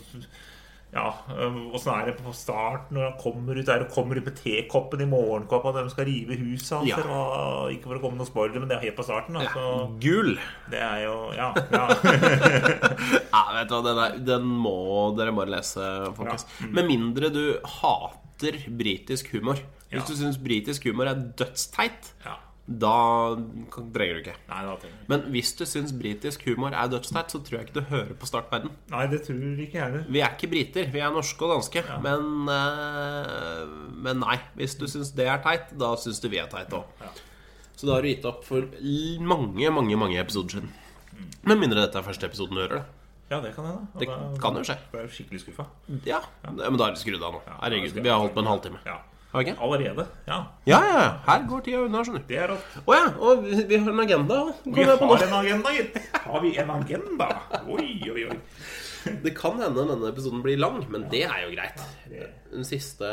Speaker 2: ja, øh, Åssen er det på start når han kommer ut der og kommer ut med tekoppen i morgenkåpa og de skal rive huset hans?
Speaker 1: Ja.
Speaker 2: eller hva? Ikke for å komme med noen spoiler, men det er helt på starten. Da, så
Speaker 1: Gul.
Speaker 2: det er jo Ja. ja.
Speaker 1: Ja, vet du hva, den, er, den må dere bare lese, folkens.
Speaker 2: mm.
Speaker 1: Med mindre du hater britisk humor. Hvis
Speaker 2: Ja.
Speaker 1: du syns britisk humor er dødsteit,
Speaker 2: ja.
Speaker 1: Da kan- trenger du ikke.
Speaker 2: Nei, det var ting.
Speaker 1: Men hvis du syns britisk humor er dødsteit, så tror jeg ikke du hører på Startverden.
Speaker 2: Nei, det tror jeg ikke jeg heller.
Speaker 1: Vi er ikke briter, vi er norske og danske. Men, eh, men nei. Hvis du syns det er teit, da syns du vi er teit òg. Så da har du gitt opp for l- mange, mange mange episoder siden. Med mindre dette er første episoden du hører det.
Speaker 2: Ja, det kan hende. Og
Speaker 1: Det
Speaker 2: da-
Speaker 1: kan jo skje.
Speaker 2: Jeg er skikkelig skuffa.
Speaker 1: Ja, Men da er det skrudd av nå. Herregud, vi har holdt på en halvtime.
Speaker 2: Ja.
Speaker 1: Har vi ikke?
Speaker 2: Allerede. Ja.
Speaker 1: Ja, ja, ja. Her går tida unna, skjønner du.
Speaker 2: Det er rått.
Speaker 1: Å ja. Og vi vi har en agenda. Kom
Speaker 2: Vi
Speaker 1: jeg på nå.
Speaker 2: har en agenda, gitt. Har vi en agenda? Oi, oi, oi.
Speaker 1: Det kan hende denne episoden blir lang, men det er jo greit.
Speaker 2: det-
Speaker 1: Den siste,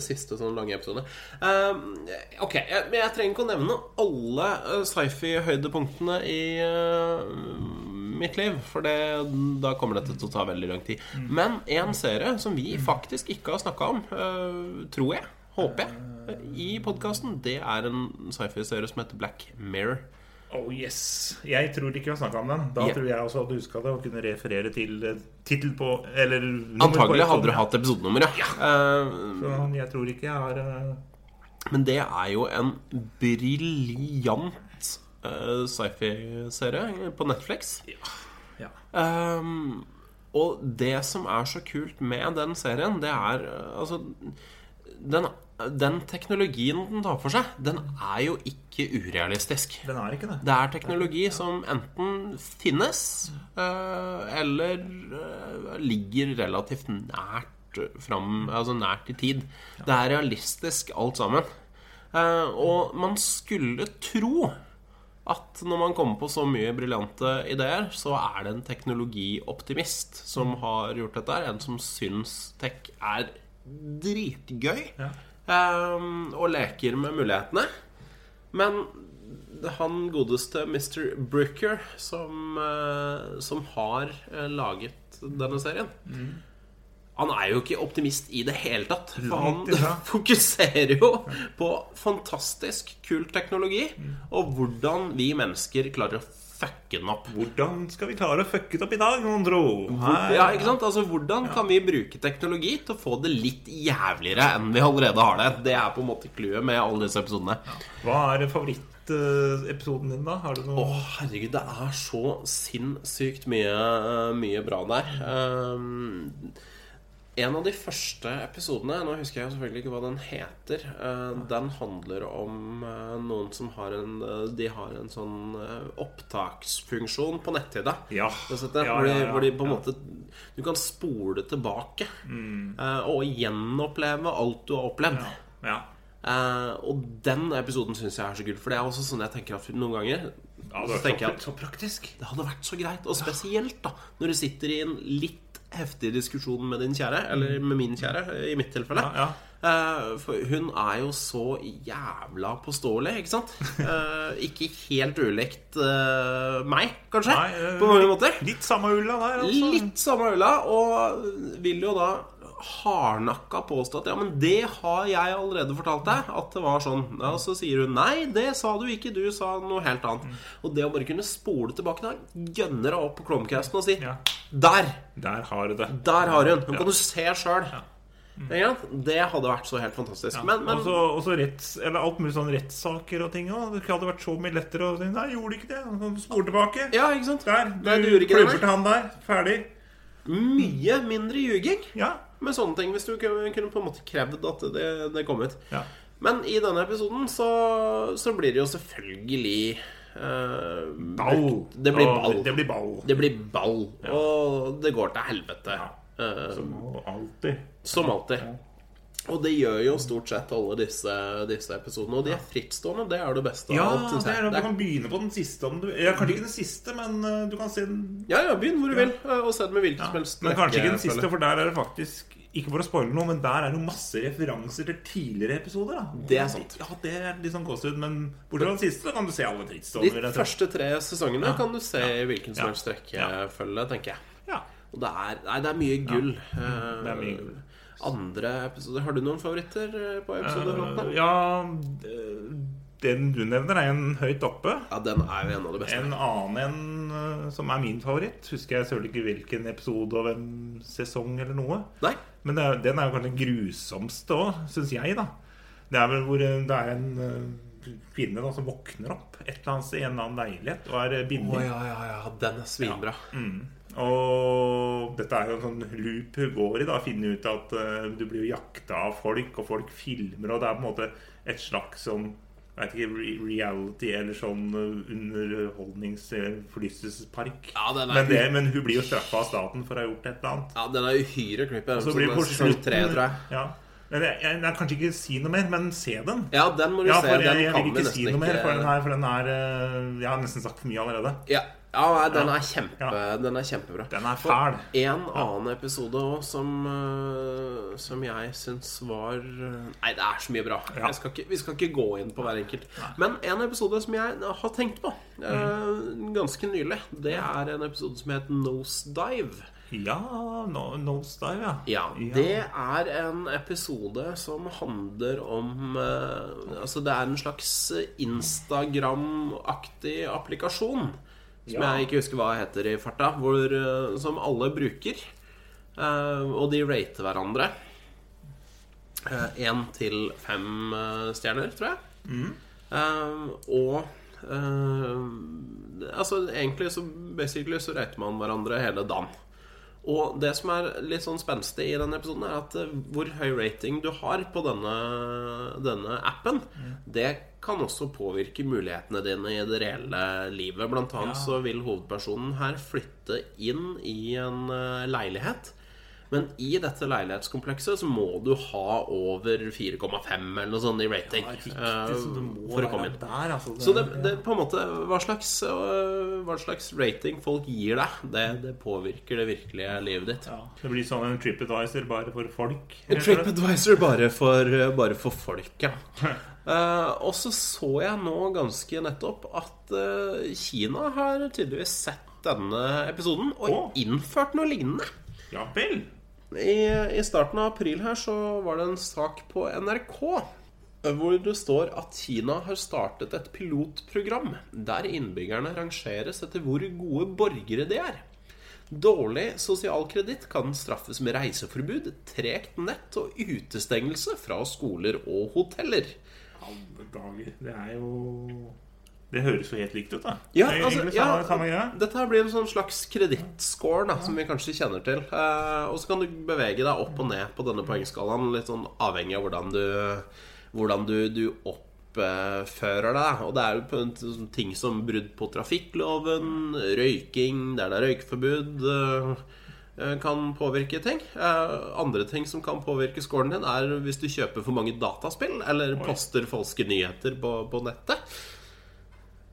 Speaker 1: siste sånn lange episode. Eh, ok, jeg, men jeg trenger ikke å nevne alle eh, sci-fi-høydepunktene i eh, mitt liv, for det, da kommer dette til å ta veldig lang tid.
Speaker 2: Mm.
Speaker 1: Men en serie som vi faktisk ikke har snakka om, eh, tror jeg, håper
Speaker 2: Eh.
Speaker 1: jeg, i podkasten, det er en sci-fi-serie som heter Black Mirror.
Speaker 2: Oh yes. Jeg tror ikke vi har snakka om den. Da
Speaker 1: Ja.
Speaker 2: tror jeg også at du huska det og kunne referere til eh, tittel på Eller nummer på
Speaker 1: Antagelig hadde du
Speaker 2: episoden.
Speaker 1: hatt episodenummer, ja. Eh,
Speaker 2: Så Jeg tror ikke jeg har eh,
Speaker 1: Men det er jo en briljant eh, sci-fi-serie på Netflix.
Speaker 2: Ja.
Speaker 1: Ehm, og det som er så kult med den serien, det er eh, altså den, den teknologien den tar for seg, den er jo ikke urealistisk.
Speaker 2: Den er ikke det.
Speaker 1: Det er teknologi som enten finnes eh, eller eh, ligger relativt nært fram, altså nært i tid. Det er realistisk alt sammen. Eh, og man skulle tro at når man kommer på så mye briljante ideer, så er det en teknologioptimist som har gjort dette her. En som syns tech er dritgøy
Speaker 2: Ja.
Speaker 1: eh, og leker med mulighetene. Men han godeste Mr. Brooker, som, eh, som har eh, laget denne serien Han er jo ikke optimist i det hele tatt. For
Speaker 2: Langt
Speaker 1: han
Speaker 2: ifra.
Speaker 1: fokuserer jo på fantastisk kul teknologi og hvordan vi mennesker klarer å fucke den opp.
Speaker 2: Hvordan skal vi klare å fucke det opp i dag, mon tro? Her-
Speaker 1: Ja, ikke sant? Altså, Hvordan kan vi bruke teknologi til å få det litt jævligere enn vi allerede har det? Det er på en måte clouet med alle disse episodene.
Speaker 2: Hva er favorittepisoden din, da? Har du noe
Speaker 1: Å, herregud, det er så sinnssykt mye, eh, mye bra der. Ehm, en av de første episodene Nå husker jeg selvfølgelig ikke hva den heter. eh, den handler om eh, noen som har en eh, De har en sånn eh, opptaksfunksjon på nettsida.
Speaker 2: Ja.
Speaker 1: Det setter jeg,
Speaker 2: Ja,
Speaker 1: hvor, de,
Speaker 2: ja, ja.
Speaker 1: hvor de på en
Speaker 2: Ja.
Speaker 1: måte Du kan spole tilbake eh, og gjenoppleve alt du har opplevd.
Speaker 2: Mm. Ja. ja.
Speaker 1: Eh, og den episoden syns jeg er så kul, for det er også sånn jeg tenker at noen ganger
Speaker 2: Ja,
Speaker 1: så
Speaker 2: det var så,
Speaker 1: tenker jeg at
Speaker 2: så praktisk.
Speaker 1: det hadde vært så greit, og spesielt da når du sitter i en litt heftig diskusjon med din kjære, eller med min kjære, i mitt tilfelle.
Speaker 2: Mm. Ja,
Speaker 1: Eh, For hun er jo så jævla påståelig, ikke sant? Eh, Ikke helt ulikt eh, meg, kanskje,
Speaker 2: Nei, eh,
Speaker 1: på mange måter.
Speaker 2: Litt samme ulla der, altså.
Speaker 1: Litt samme øla, og vil jo da hardnakka påstå at ja, men det har jeg allerede fortalt deg, at det var sånn. Ja, og så sier hun nei, det sa du ikke, du sa noe helt
Speaker 2: Mm.
Speaker 1: annet. Og det å bare kunne spole tilbake da, gønne deg opp på Chromecast og si
Speaker 2: Ja.
Speaker 1: der!
Speaker 2: Der har du det.
Speaker 1: Der har hun! Nå
Speaker 2: Ja. Mm.
Speaker 1: kan du se sjøl. Det hadde vært så helt fantastisk. Men, men
Speaker 2: Og så- og så retts... Eller alt mulig sånn rettssaker og ting òg. Det hadde vært så mye lettere å si Nei, jeg gjorde ikke det. Og så Spol tilbake.
Speaker 1: Ja, ikke sant?
Speaker 2: Der. Du,
Speaker 1: Nei, du gjorde ikke det,
Speaker 2: klubber
Speaker 1: nei.
Speaker 2: til han der. Ferdig.
Speaker 1: Mye mindre ljuging
Speaker 2: Ja.
Speaker 1: med sånne ting, hvis du kunne kunne på en måte krevd at det, det kom ut.
Speaker 2: ja.
Speaker 1: Men i denne episoden så, så blir det jo selvfølgelig eh,
Speaker 2: Ball.
Speaker 1: brukt- Det blir
Speaker 2: Ja,
Speaker 1: ball.
Speaker 2: Det blir ball.
Speaker 1: Det blir ball, og det går til helvete. Eh,
Speaker 2: Som alltid.
Speaker 1: som alltid. Og det gjør jo stort sett alle disse, disse episodene. Og de er frittstående, det er det beste
Speaker 2: Ja,
Speaker 1: av alt. synes
Speaker 2: det
Speaker 1: jeg.
Speaker 2: er,
Speaker 1: Det
Speaker 2: du
Speaker 1: er-
Speaker 2: kan begynne på den siste om du Ja, kanskje ikke den siste, men eh, du kan se den
Speaker 1: ja, ja, begynn hvor du vil, eh, og se det med hvilken som helst
Speaker 2: Men kanskje ikke den
Speaker 1: rekkefølge.
Speaker 2: siste, for der er det faktisk ikke for å spoile noe, men der er det jo masse referanser til tidligere episoder. Da.
Speaker 1: Det er sant.
Speaker 2: Ja, det er litt sånn gåsehud, men bortsett fra den siste så kan du se alle
Speaker 1: De
Speaker 2: triksene.
Speaker 1: første tre sesongene kan du se i hvilken som
Speaker 2: Ja.
Speaker 1: helst rekkefølge, tenker jeg.
Speaker 2: Ja.
Speaker 1: Og det er, nei, det er mye gull. eh,
Speaker 2: det er mye gull.
Speaker 1: Andre episoder Har du noen favoritter eh, på episoder?
Speaker 2: Eh,
Speaker 1: Lotte?
Speaker 2: ja Den du nevner, er en høyt oppe.
Speaker 1: ja, den er jo en av de beste.
Speaker 2: En annen en eh, som er min favoritt, husker jeg søren ikke hvilken episode og hvem sesong eller noe.
Speaker 1: Nei?
Speaker 2: Men det er, den er jo kanskje den grusomste òg, syns jeg, da. Det er vel hvor eh, det er en eh, kvinne da, som våkner opp et eller annet sted i en eller annen leilighet og er eh,
Speaker 1: Å
Speaker 2: bindet.
Speaker 1: ja, ja, ja. Den er svinbra.
Speaker 2: Og dette er jo en sånn loop hun går i, da. Finne ut at eh, du blir jo jakta av folk, og folk filmer, og det er på en måte et slags sånn jeg vet ikke, re- reality eller sånn eh, underholdningsforlystelsespark.
Speaker 1: Ja, den er
Speaker 2: men, det- men hun blir jo straffa av staten for å ha gjort et eller annet.
Speaker 1: Ja, den er uhyre creepy.
Speaker 2: Så blir det på
Speaker 1: sesong
Speaker 2: slutten
Speaker 1: tre, tror jeg.
Speaker 2: Ja. Men jeg, jeg, jeg kan ikke si noe mer, men se den.
Speaker 1: Ja, den må du
Speaker 2: Ja,
Speaker 1: se.
Speaker 2: for jeg,
Speaker 1: Den
Speaker 2: jeg
Speaker 1: kan vi
Speaker 2: vil ikke
Speaker 1: nesten
Speaker 2: si noe mer,
Speaker 1: ikke
Speaker 2: for den her, for den er eh, Jeg har nesten sagt for mye allerede.
Speaker 1: Ja, ja nei, den, er kjempe,
Speaker 2: Ja.
Speaker 1: den er kjempebra.
Speaker 2: Den er fæl.
Speaker 1: En annen episode òg som, eh, som jeg syns var eh, Nei, det er så mye bra.
Speaker 2: Ja.
Speaker 1: Jeg skal ikke, vi skal ikke gå inn på hver enkelt. Men en episode som jeg har tenkt på eh,
Speaker 2: Mm.
Speaker 1: ganske nylig, det er en episode som heter Nosedive.
Speaker 2: Ja, no, Nosedive,
Speaker 1: Ja, det er en episode som handler om eh, Altså, det er en slags Instagram-aktig applikasjon. Som
Speaker 2: Ja.
Speaker 1: jeg ikke husker hva heter i farta. Hvor, eh, som alle bruker. eh, og de rater hverandre. én til fem eh, stjerner, tror jeg. Eh, og eh, Altså, egentlig så basically så rater man hverandre hele dagen. Og det som er litt sånn spenstig i denne episoden, er at eh, hvor høy rating du har på denne, denne appen, det kan også påvirke mulighetene dine i det reelle livet. Blant annet så vil hovedpersonen her flytte inn i en eh, leilighet. Men i dette leilighetskomplekset så må du ha over 4,5 eller noe sånt i rating. eh, for å komme inn.
Speaker 4: der, altså.
Speaker 1: Så det, det på en måte hva slags, øh, hva slags rating folk gir deg, det, det påvirker det virkelige livet ditt.
Speaker 4: Ja.
Speaker 2: Det blir sånn en TripAdvisor bare for folk.
Speaker 1: TripAdvisor bare for, bare for folk, ja. Eh, og så så jeg nå ganske nettopp at eh, Kina har tydeligvis sett denne episoden og
Speaker 2: Å.
Speaker 1: innført noe lignende.
Speaker 2: Ja vel.
Speaker 1: I, I starten av april her så var det en sak på NRK hvor det står at Kina har startet et pilotprogram der innbyggerne rangeres etter hvor gode borgere de er. Dårlig sosial kreditt kan straffes med reiseforbud, tregt nett og utestengelse fra skoler og hoteller.
Speaker 2: Alle dager. Det er jo Det høres jo helt likt ut, da.
Speaker 1: Ja,
Speaker 2: Det er
Speaker 1: altså,
Speaker 2: egentlig
Speaker 1: ja,
Speaker 2: samme- samme greie.
Speaker 1: Dette her blir en sånn slags kredittscore da, som vi kanskje kjenner til. Eh, og så kan du bevege deg opp og ned på denne poengskalaen, litt sånn avhengig av hvordan du, hvordan du, du oppfører deg. Og det er jo på en sånn ting som brudd på trafikkloven, røyking der det er røykeforbud. eh, kan påvirke ting. Eh, andre ting som kan påvirke scoren din, er hvis du kjøper for mange dataspill eller poster falske nyheter på, på nettet.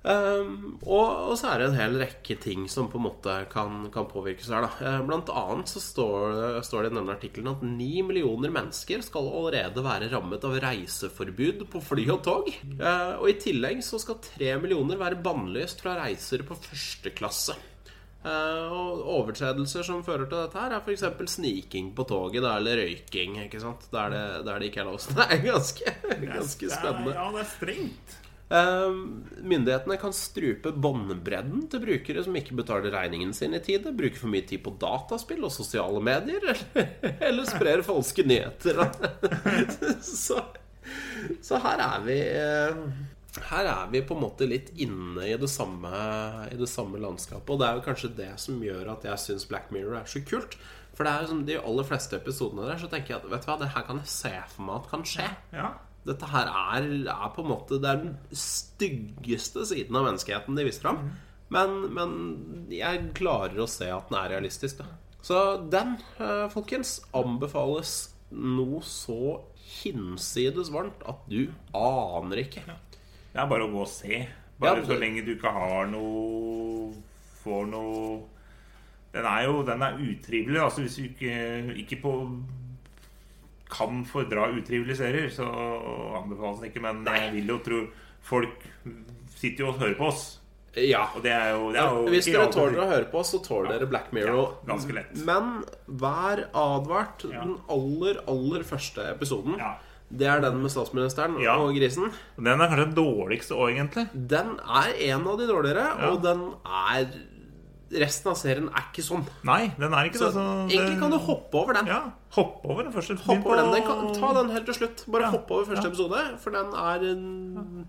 Speaker 1: Um, og, og så er det en hel rekke ting som på en måte kan, kan påvirkes her. Da. Eh, Blant annet så står, det- står det i denne artikkelen at ni millioner mennesker skal allerede være rammet av reiseforbud på fly og tog. Eh, og i tillegg så skal tre millioner være bannlyst fra reiser på første klasse. Eh, og overtredelser som fører til dette, her er f.eks. sniking på toget da, eller røyking. Ikke sant? Der det, der det ikke er lov. Så det er ganske, ganske spennende.
Speaker 2: Ja, det er strengt.
Speaker 1: Eh, Myndighetene kan strupe båndbredden til brukere som ikke betaler regningen sin i tide, bruker for mye tid på dataspill og sosiale medier, eller, eller sprer falske nyheter. Så, så her er vi eh, Her er vi på en måte litt inne i det samme, i det samme landskapet. Og det er jo kanskje det som gjør at jeg syns Black Mirror er så kult. For det er jo som de aller fleste episodene der, så tenker jeg at vet du hva, det her kan jeg se for meg at kan skje.
Speaker 2: Ja.
Speaker 1: Dette her er, er på en måte Det er den styggeste siden av menneskeheten de viser fram. Men, men jeg klarer å se at den er realistisk. Da. Så den, eh, folkens, anbefales noe så hinsides varmt at du aner ikke.
Speaker 2: Det er bare å gå og se. Bare
Speaker 1: Ja,
Speaker 2: så
Speaker 1: det-
Speaker 2: lenge du ikke har noe Får noe Den er jo den er utrivelig. Altså hvis du ikke, ikke på kan fordra utrivelige serier, så anbefales den ikke. Men jeg vil jo tro Folk sitter jo og hører på oss.
Speaker 1: Ja.
Speaker 2: Og det er jo, det er jo
Speaker 1: Hvis
Speaker 2: ikke
Speaker 1: dere
Speaker 2: alt-
Speaker 1: tåler å høre på, så tåler dere Black Mirror.
Speaker 2: Ja, ganske lett.
Speaker 1: Men vær advart. Den aller, aller første episoden,
Speaker 2: Ja.
Speaker 1: det er den med statsministeren
Speaker 2: Ja.
Speaker 1: og grisen.
Speaker 2: Den er kanskje den dårligste òg, egentlig.
Speaker 1: Den er en av de dårligere, og den er Resten av serien er ikke sånn.
Speaker 2: Nei, den er ikke
Speaker 1: Så
Speaker 2: det. Så
Speaker 1: egentlig kan du hoppe over den.
Speaker 2: Ja, hopp over den første.
Speaker 1: Hopp
Speaker 2: Begynn
Speaker 1: over den.
Speaker 2: på-
Speaker 1: den kan, ta den helt til slutt. Bare hopp over første episode, for den er en-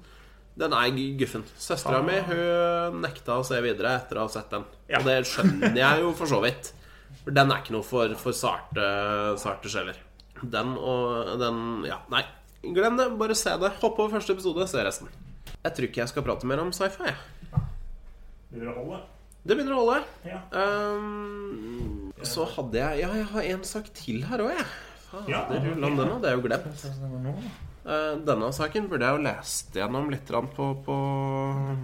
Speaker 1: Den er guffen. Søstera mi hun nekta å se videre etter å ha sett den.
Speaker 2: Ja.
Speaker 1: Og det skjønner jeg jo for så vidt. For den er ikke noe for, for sarte, sarte sjeler. Den og den Ja, nei. Glem det. Bare se det. Hopp over første episode, se resten. Jeg tror ikke jeg skal prate mer om sci-fi. jeg.
Speaker 2: Underholde.
Speaker 1: Det begynner å holde.
Speaker 2: Ja.
Speaker 1: Ehm, så hadde jeg Ja, jeg har en sak til her òg, jeg. Fader,
Speaker 2: Ja.
Speaker 1: rullan, den hadde jeg jo glemt. Eh, denne saken burde jeg jo lest gjennom litt grann på, på,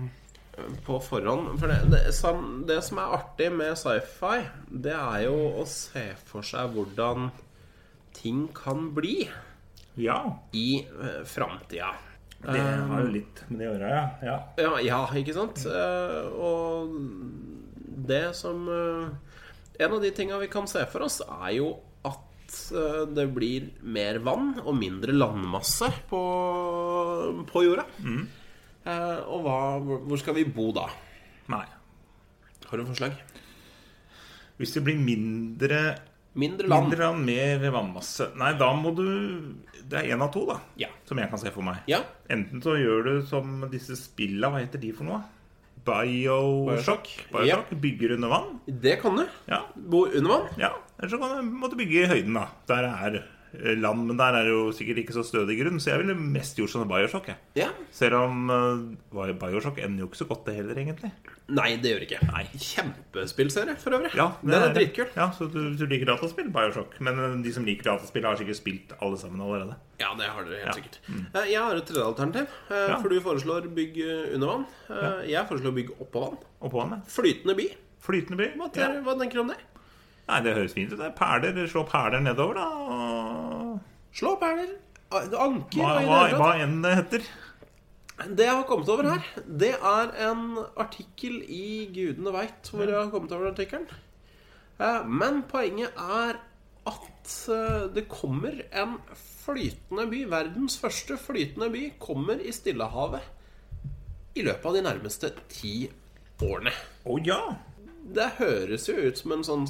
Speaker 1: på forhånd. For det, det, sam- det som er artig med sci-fi, det er jo å se for seg hvordan ting kan bli
Speaker 2: ja.
Speaker 1: i uh, framtida.
Speaker 2: Det har jo litt med det å gjøre, ja. ja.
Speaker 1: Ja, ja ikke sant? Eh, og det som eh, En av de tinga vi kan se for oss, er jo at eh, det blir mer vann og mindre landmasse på, på jorda. Eh, og hva, hvor hvor skal vi bo da?
Speaker 2: Nei.
Speaker 1: Har du forslag?
Speaker 2: Hvis det blir mindre
Speaker 1: Mindre land.
Speaker 2: Mindre land, mer vannmasse. Nei, da må du Det er én av to, da.
Speaker 1: Ja.
Speaker 2: Som jeg kan se for meg.
Speaker 1: Ja.
Speaker 2: Enten så gjør du som disse spilla, hva heter de for noe? Bioshock.
Speaker 1: Bioshock.
Speaker 2: Bioshock Bygger under vann.
Speaker 1: Det kan du.
Speaker 2: Ja.
Speaker 1: Bo under vann.
Speaker 2: ja. Eller så kan du, må du bygge i høyden, da. Der er eh, land, men der er det jo sikkert ikke så stødig grunn, så jeg ville mest gjort sånn Bioshock. Jeg.
Speaker 1: Ja.
Speaker 2: Selv om eh, Bioshock ender jo ikke så godt, det heller, egentlig.
Speaker 1: Nei, det gjør det ikke. Nei. Kjempespillserie, for øvrig.
Speaker 2: Ja,
Speaker 1: Den er dritkul.
Speaker 2: Ja, så du, du liker dataspill, Bioshock. Men eh, de som liker dataspill, har sikkert spilt alle sammen allerede.
Speaker 1: Ja, det har dere helt sikkert. Eh, Jeg har et tredje alternativ. eh,
Speaker 2: Mm. Ja.
Speaker 1: For du foreslår bygg eh, under vann. Eh, Jeg foreslår bygg oppå vann.
Speaker 2: Og på med.
Speaker 1: Flytende by.
Speaker 2: Flytende by.
Speaker 1: Hva,
Speaker 2: Ja.
Speaker 1: tenker- hva tenker du om det?
Speaker 2: Nei, det høres fint ut. det. Perler, Slå perler nedover, da. og-
Speaker 1: Slå opp hæler. Anker
Speaker 2: Hva,
Speaker 1: og i det
Speaker 2: hva,
Speaker 1: hele tatt.
Speaker 2: hva enn det heter.
Speaker 1: Det jeg har kommet over her, det er en artikkel i Gudene veit hvor jeg har kommet over artikkelen. Eh, Men poenget er at eh, det kommer en flytende by, verdens første flytende by, kommer i Stillehavet i løpet av de nærmeste ti årene.
Speaker 2: Å ja!
Speaker 1: Det høres jo ut som en sånn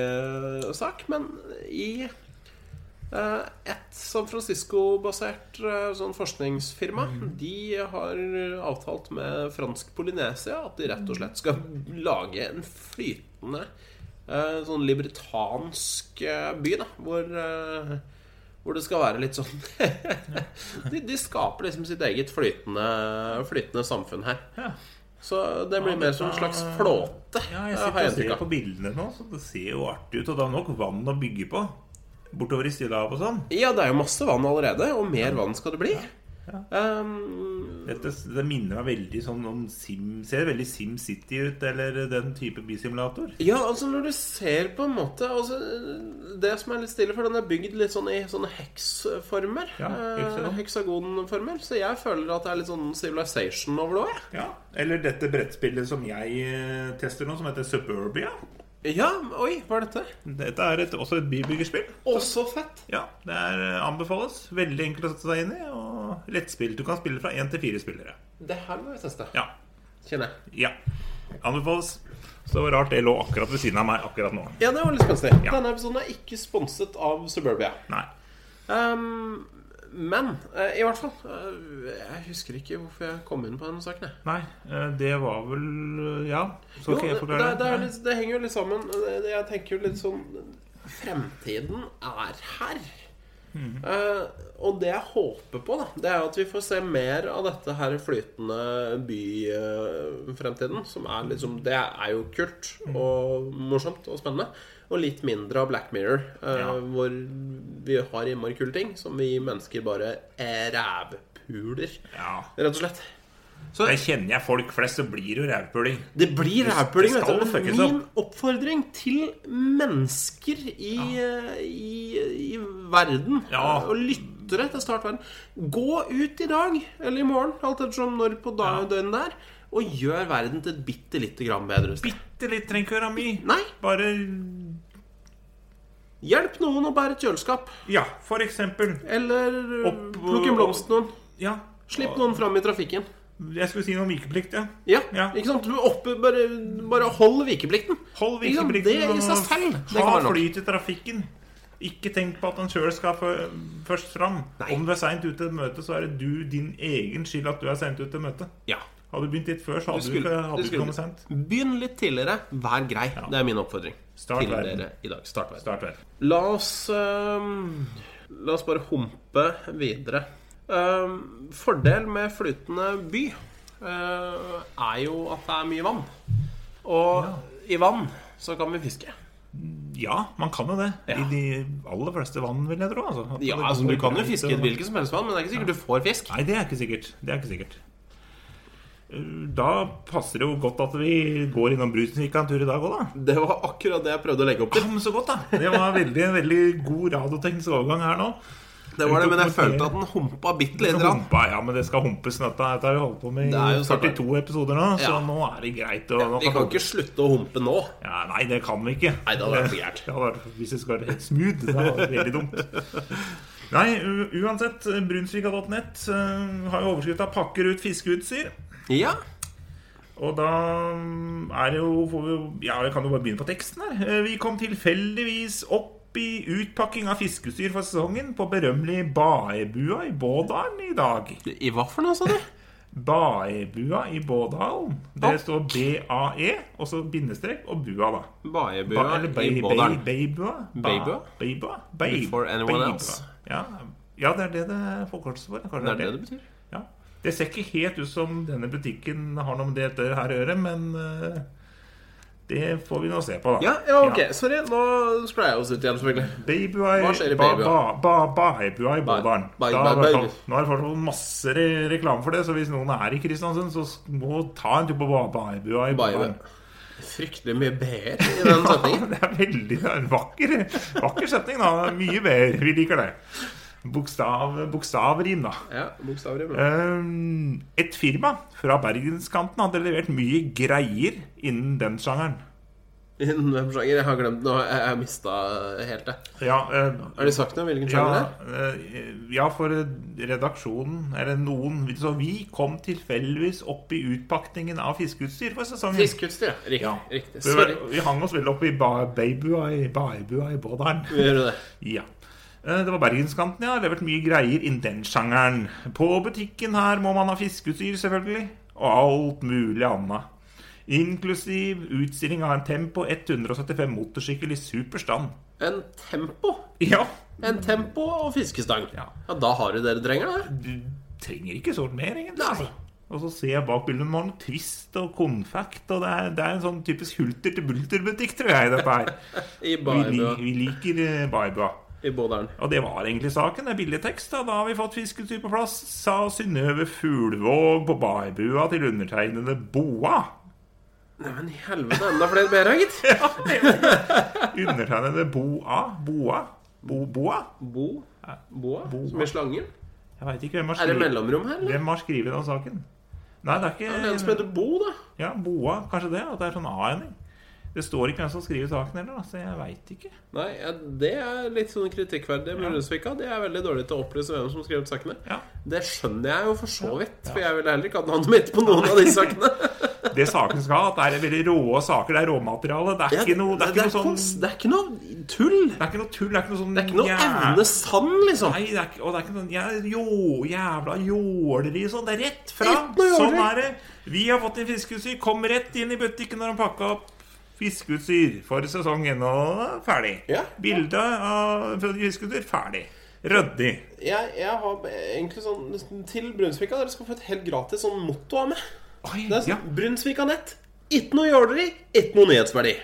Speaker 1: sci-fi-sak, men i eh, et San Francisco-basert eh, sånn forskningsfirma De har avtalt med fransk Polynesia at de rett og slett skal lage en flytende eh, sånn libertansk eh, by, da, hvor eh, hvor det skal være litt sånn de, de skaper liksom sitt eget flytende, flytende samfunn her.
Speaker 2: Ja.
Speaker 1: Så det blir
Speaker 2: Ja,
Speaker 1: mer
Speaker 2: dette-
Speaker 1: som en slags flåte. eh,
Speaker 2: ja
Speaker 1: har
Speaker 2: jeg
Speaker 1: jeg
Speaker 2: sitter og
Speaker 1: inntrykk
Speaker 2: ser
Speaker 1: av.
Speaker 2: på bildene nå, så det ser jo artig ut. Og det er nok vann å bygge på. Bortover i Stillehavet og sånn.
Speaker 1: Ja, det er jo masse vann allerede, og mer vann skal det bli. Um,
Speaker 2: Dette, det minner meg veldig sånn om Sim Ser veldig Sim City ut, eller den type bysimulator.
Speaker 1: ja, altså når du ser på en måte altså, Det som er litt stille, for den er bygd litt sånn i sånne heksformer.
Speaker 2: Ja,
Speaker 1: eh,
Speaker 2: hekseform.
Speaker 1: Heksagonformer. Så jeg føler at det er litt sånn civilization over det òg.
Speaker 2: Ja, Eller dette brettspillet som jeg eh, tester nå, som heter Suburbia.
Speaker 1: Ja, oi, hva er dette?
Speaker 2: Dette er et, også et bybyggerspill.
Speaker 1: Å, så fett!
Speaker 2: Ja, det er, eh, anbefales. Veldig enkelt å sette seg inn i, og lettspill. Du kan spille fra én til fire spillere.
Speaker 1: Det her må vi teste,
Speaker 2: Ja.
Speaker 1: kjenner jeg.
Speaker 2: ja. Anbefales. Så det var rart det lå akkurat ved siden av meg akkurat nå.
Speaker 1: Ja, det var litt spenstig.
Speaker 2: Ja.
Speaker 1: Denne episoden er ikke sponset av Suburbia.
Speaker 2: Nei.
Speaker 1: Um, men eh, i hvert fall eh, Jeg husker ikke hvorfor jeg kom inn på denne saken. Jeg.
Speaker 2: Nei, eh, det var vel eh, Ja, så
Speaker 1: Jo,
Speaker 2: skal jeg
Speaker 1: det,
Speaker 2: forklare.
Speaker 1: det, er
Speaker 2: Nei.
Speaker 1: litt, det henger jo litt sammen. Det- det- Jeg tenker jo litt sånn Fremtiden er her.
Speaker 2: Mm.
Speaker 1: Eh, og det jeg håper på, da, det er jo at vi får se mer av dette her flytende byfremtiden. som er liksom Det er jo kult
Speaker 2: Mm.
Speaker 1: og morsomt og spennende. Og litt mindre av Black Mirror, eh,
Speaker 2: Ja.
Speaker 1: hvor vi har innmari kule ting som vi mennesker bare eh, rævpuler.
Speaker 2: Ja.
Speaker 1: Rett og slett.
Speaker 2: Jeg kjenner jeg folk flest, så blir det jo rævpuling.
Speaker 1: Det blir rævpuling,
Speaker 2: det
Speaker 1: vet
Speaker 2: skal
Speaker 1: du. Men
Speaker 2: fuckes
Speaker 1: Min oppfordring til mennesker i, i, i verden
Speaker 2: Ja.
Speaker 1: og lyttere til Startverden Gå ut i dag, eller i morgen, alt ettersom når på dag, døgnet det er, og gjør verden til et bitte lite grann bedre sted.
Speaker 2: Bitte litt trenger ikke være mye.
Speaker 1: Nei,
Speaker 2: Bare
Speaker 1: hjelp noen å bære et kjøleskap.
Speaker 2: Ja, for eksempel.
Speaker 1: Eller øh,
Speaker 2: Opp-
Speaker 1: plukk en blomst til noen.
Speaker 2: Ja.
Speaker 1: Slipp noen fram i trafikken.
Speaker 2: Jeg skulle si noe om vikeplikt, ja.
Speaker 1: Ja,
Speaker 2: Ja.
Speaker 1: ikke sant? Du oppe, bare, bare hold vikeplikten.
Speaker 2: Hold
Speaker 1: Ikke sant?
Speaker 2: vikeplikten
Speaker 1: Det i seg selv. Det
Speaker 2: ha
Speaker 1: kan være nok.
Speaker 2: flyt i trafikken. Ikke tenk på at han sjøl skal fø- først fram.
Speaker 1: Nei.
Speaker 2: Om du er seint ute til et møte, så er det du din egen skyld at du er seint ute til møte.
Speaker 1: Ja.
Speaker 2: Hadde du begynt litt før, så hadde du,
Speaker 1: skulle- du
Speaker 2: ikke, hadde du ikke
Speaker 1: skulle.
Speaker 2: kommet seint.
Speaker 1: Begynn litt tidligere. Vær grei. Det er min oppfordring.
Speaker 2: Start
Speaker 1: til
Speaker 2: verden.
Speaker 1: dere i dag. Start verden.
Speaker 2: Start vel.
Speaker 1: La oss ehm, La oss bare humpe videre. Ehm, fordel med flytende by eh, er jo at det er mye vann. Og i vann så kan vi fiske.
Speaker 2: Ja, man kan jo det.
Speaker 1: Ja.
Speaker 2: I de aller fleste vann, vil jeg tro. Altså. At
Speaker 1: Ja,
Speaker 2: det-
Speaker 1: altså Du kan jo
Speaker 2: det-
Speaker 1: fiske i et hvilket som helst vann, men det er ikke sikkert du får fisk.
Speaker 2: Nei, det er ikke sikkert. Det er ikke sikkert. Uh, Da passer det jo godt at vi går innom Brusvika en tur i dag òg, da.
Speaker 1: Det var akkurat det jeg prøvde å legge opp
Speaker 2: Ja,
Speaker 1: til.
Speaker 2: men så godt, da. Det var veldig, en veldig god radioteknisk overgang her nå.
Speaker 1: Det var det, Men jeg følte at den humpa bitte
Speaker 2: Det
Speaker 1: lite
Speaker 2: skal
Speaker 1: grann.
Speaker 2: humpa, ja, men det skal humpes. Dette dette har vi holdt på med
Speaker 1: Det er
Speaker 2: i
Speaker 1: jo snart
Speaker 2: 42 episoder nå, så
Speaker 1: Ja.
Speaker 2: nå er det greit. å- nå
Speaker 1: Vi kan ikke slutte å humpe nå.
Speaker 2: ja, Nei, det kan vi ikke.
Speaker 1: Nei, det hadde vært for gærent.
Speaker 2: Det hadde vært- Hvis det skal være helt smooth, det hadde vært veldig dumt. Nei, u- uansett. Brunsvika.nett eh, har jo overskrifta 'Pakker ut fiskeutstyr'.
Speaker 1: Ja,
Speaker 2: Og da mm, er det jo får vi, jo- Ja, jeg kan jo bare begynne på teksten her. Eh, Vi kom tilfeldigvis opp i utpakking av fiskeutstyr for sesongen på berømmelig Baebua i Bådalen i dag.
Speaker 1: I hva for noe, sa du?
Speaker 2: Baebua i Bådalen.
Speaker 1: Ja.
Speaker 2: Det står BAE, og så bindestrek og bua, da. Ba,
Speaker 1: Baiebua
Speaker 2: eller
Speaker 1: i
Speaker 2: bei- bei-
Speaker 1: Bådalen.
Speaker 2: Beibua? Ba-
Speaker 1: Beibua?
Speaker 2: Beibua? Bei-
Speaker 1: Before anyone
Speaker 2: Beibua.
Speaker 1: else.
Speaker 2: Ja. ja, det er det det er forkortelse for. Kanskje
Speaker 1: Det er det det betyr.
Speaker 2: Ja. Det ser ikke helt ut som denne butikken har noe med dette her å gjøre, men eh, det får vi nå se på, da.
Speaker 1: Ja, ja, ok. Sorry, nå spray jeg oss ut igjen, selvfølgelig.
Speaker 2: Babybua i
Speaker 1: Hva skjer i
Speaker 2: ba,
Speaker 1: Babybua?
Speaker 2: ba, ba, Babybua i
Speaker 1: Ba-
Speaker 2: Bådalen.
Speaker 1: ba-
Speaker 2: Da
Speaker 1: ba-
Speaker 2: har vi
Speaker 1: baby.
Speaker 2: fått- Nå har vi fått masse re reklame for det, så hvis noen er i Kristiansund, så s- må ta en tur på ba, Babybua i
Speaker 1: Baiebua.
Speaker 2: Bådalen.
Speaker 1: Fryktelig mye b-er i den setningen.
Speaker 2: Det er veldig det er en vakker, vakker setning, da. Mye mer. Vi liker det. Bokstav, bokstavrim, da.
Speaker 1: Ja, bokstavrim. ja.
Speaker 2: Ehm, Et firma fra bergenskanten hadde levert mye greier innen den sjangeren.
Speaker 1: Innen hvem sjanger? Jeg har glemt nå. Jeg har mista helt det.
Speaker 2: Ja, eh,
Speaker 1: Har de sagt noe om hvilken sjanger det
Speaker 2: Ja,
Speaker 1: er?
Speaker 2: eh, ja, for redaksjonen, eller noen Så vi kom tilfeldigvis opp i utpakningen av fiskeutstyr for sesongen.
Speaker 1: Fiskeutstyr, ja. Riktig.
Speaker 2: Ja.
Speaker 1: riktig.
Speaker 2: Så
Speaker 1: Sorry.
Speaker 2: Vi, vi hang oss vel opp i ba- Baibua i, Baibua i Bådalen.
Speaker 1: Vi gjør jo det.
Speaker 2: Ja. Eh, Det var bergenskanten, ja. Levert mye greier innen den sjangeren. På butikken her må man ha fiskeutstyr, selvfølgelig. Og alt mulig annet. Inklusiv utstilling av en Tempo 175 motorsykkel i super stand.
Speaker 1: En tempo.
Speaker 2: Ja,
Speaker 1: En tempo og fiskestang.
Speaker 2: Ja.
Speaker 1: Ja, da har du det du trenger, da.
Speaker 2: du trenger ikke sånt mer, egentlig.
Speaker 1: Nei.
Speaker 2: altså. Og så ser jeg bak bildet med noen twist og konfekt, og det er, det er en sånn typisk hulter-til-bulter-butikk, tror jeg, dette her.
Speaker 1: I
Speaker 2: Vi, li,
Speaker 1: Baibua
Speaker 2: vi liker eh, Baibua.
Speaker 1: i Bådalen.
Speaker 2: Og det var egentlig saken. Det er billigtekst. Da. da har vi fått fiskeutstyr på plass, sa Synnøve Fuglvåg på Baibua til undertegnede Boa.
Speaker 1: Neimen, i helvete. Enda flere b-er, her, gitt.
Speaker 2: Undertegnede Boa? Boa? Bo, boa?
Speaker 1: Bo. Boa. Som i slangen.
Speaker 2: Jeg veit ikke hvem har
Speaker 1: Er det
Speaker 2: skrevet,
Speaker 1: mellomrom her, eller?
Speaker 2: hvem har skrevet den saken. Nei, det
Speaker 1: Er det
Speaker 2: er
Speaker 1: en som
Speaker 2: ikke
Speaker 1: heter Bo, da?
Speaker 2: Ja, Boa. Kanskje det? At det er sånn A-ending. Det står ikke hvem som skriver saken heller, da, så jeg veit ikke.
Speaker 1: Nei, ja, det er litt sånn kritikkverdig med Rundsvika. De er veldig dårlige til å opplyse hvem som skrev sakene.
Speaker 2: Ja.
Speaker 1: Det skjønner jeg jo for så vidt, for jeg ville heller ikke hatt navnet mitt på noen av de sakene.
Speaker 2: Det saken skal ha, at det er veldig rå saker. Det er råmateriale. Det er ikke noe, det er ikke noe sånn
Speaker 1: kons- det er ikke noe tull.
Speaker 2: Det er ikke noe tull. Det er ikke noe sånn
Speaker 1: Det er ikke noe
Speaker 2: jæv-
Speaker 1: evne sann, liksom.
Speaker 2: Nei, det er ikke, og det er ikke noe ja, jo, jævla jåleri og sånn. Det er rett fram.
Speaker 1: Rett noe
Speaker 2: Sånn
Speaker 1: jåleri.
Speaker 2: er det. Vi har fått inn fiskeutstyr. Kom rett inn i butikken når de pakka opp fiskeutstyr for sesongen. Og da er ferdig.
Speaker 1: Ja.
Speaker 2: Bilde av fiskeutstyr ferdig. Ryddig.
Speaker 1: Jeg, jeg har egentlig sånn Til Brunsvika, dere skal få et helt gratis sånn motto av meg.
Speaker 2: Oi,
Speaker 1: Det er
Speaker 2: ja.
Speaker 1: sånn Brunsvika nett. Ikke noe jåleri, ikke noe nyhetsverdi.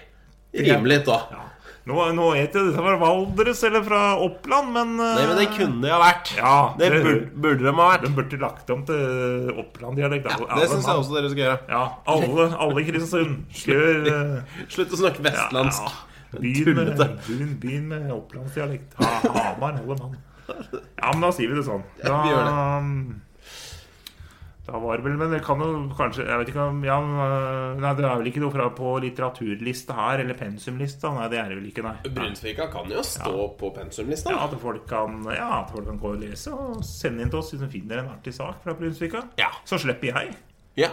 Speaker 1: Rimelig, da.
Speaker 2: Ja. Nå, nå vet jeg dette fra Valdres eller fra Oppland, men eh,
Speaker 1: Nei, men det kunne det ha vært.
Speaker 2: Ja,
Speaker 1: det
Speaker 2: det-
Speaker 1: burde, burde de ha vært.
Speaker 2: De burde lagt om til Oppland-dialekt. alle-
Speaker 1: Det
Speaker 2: alle
Speaker 1: syns
Speaker 2: mann.
Speaker 1: jeg også dere skal gjøre.
Speaker 2: Ja, alle, alle i Kristiansund. Gjør eh,
Speaker 1: Slutt å snakke vestlandsk.
Speaker 2: Begynn med,
Speaker 1: Tullete.
Speaker 2: begynn, begynn med opplandsdialekt. Ha, Hamar, alle mann. Ja, men da sier vi det sånn. Da,
Speaker 1: vi gjør
Speaker 2: da var det vel Men det kan jo kanskje Jeg vet ikke om ja, men, eh, Nei, det er vel ikke noe fra på litteraturlista her, eller pensumlista? Nei, det er det vel ikke, nei.
Speaker 1: Brunsvika kan jo stå på pensumlista.
Speaker 2: Ja, at folk kan, ja, at folk kan gå og lese og sende inn til oss hvis de finner en artig sak fra Brunsvika.
Speaker 1: Ja.
Speaker 2: Så slipper jeg.
Speaker 1: Ja.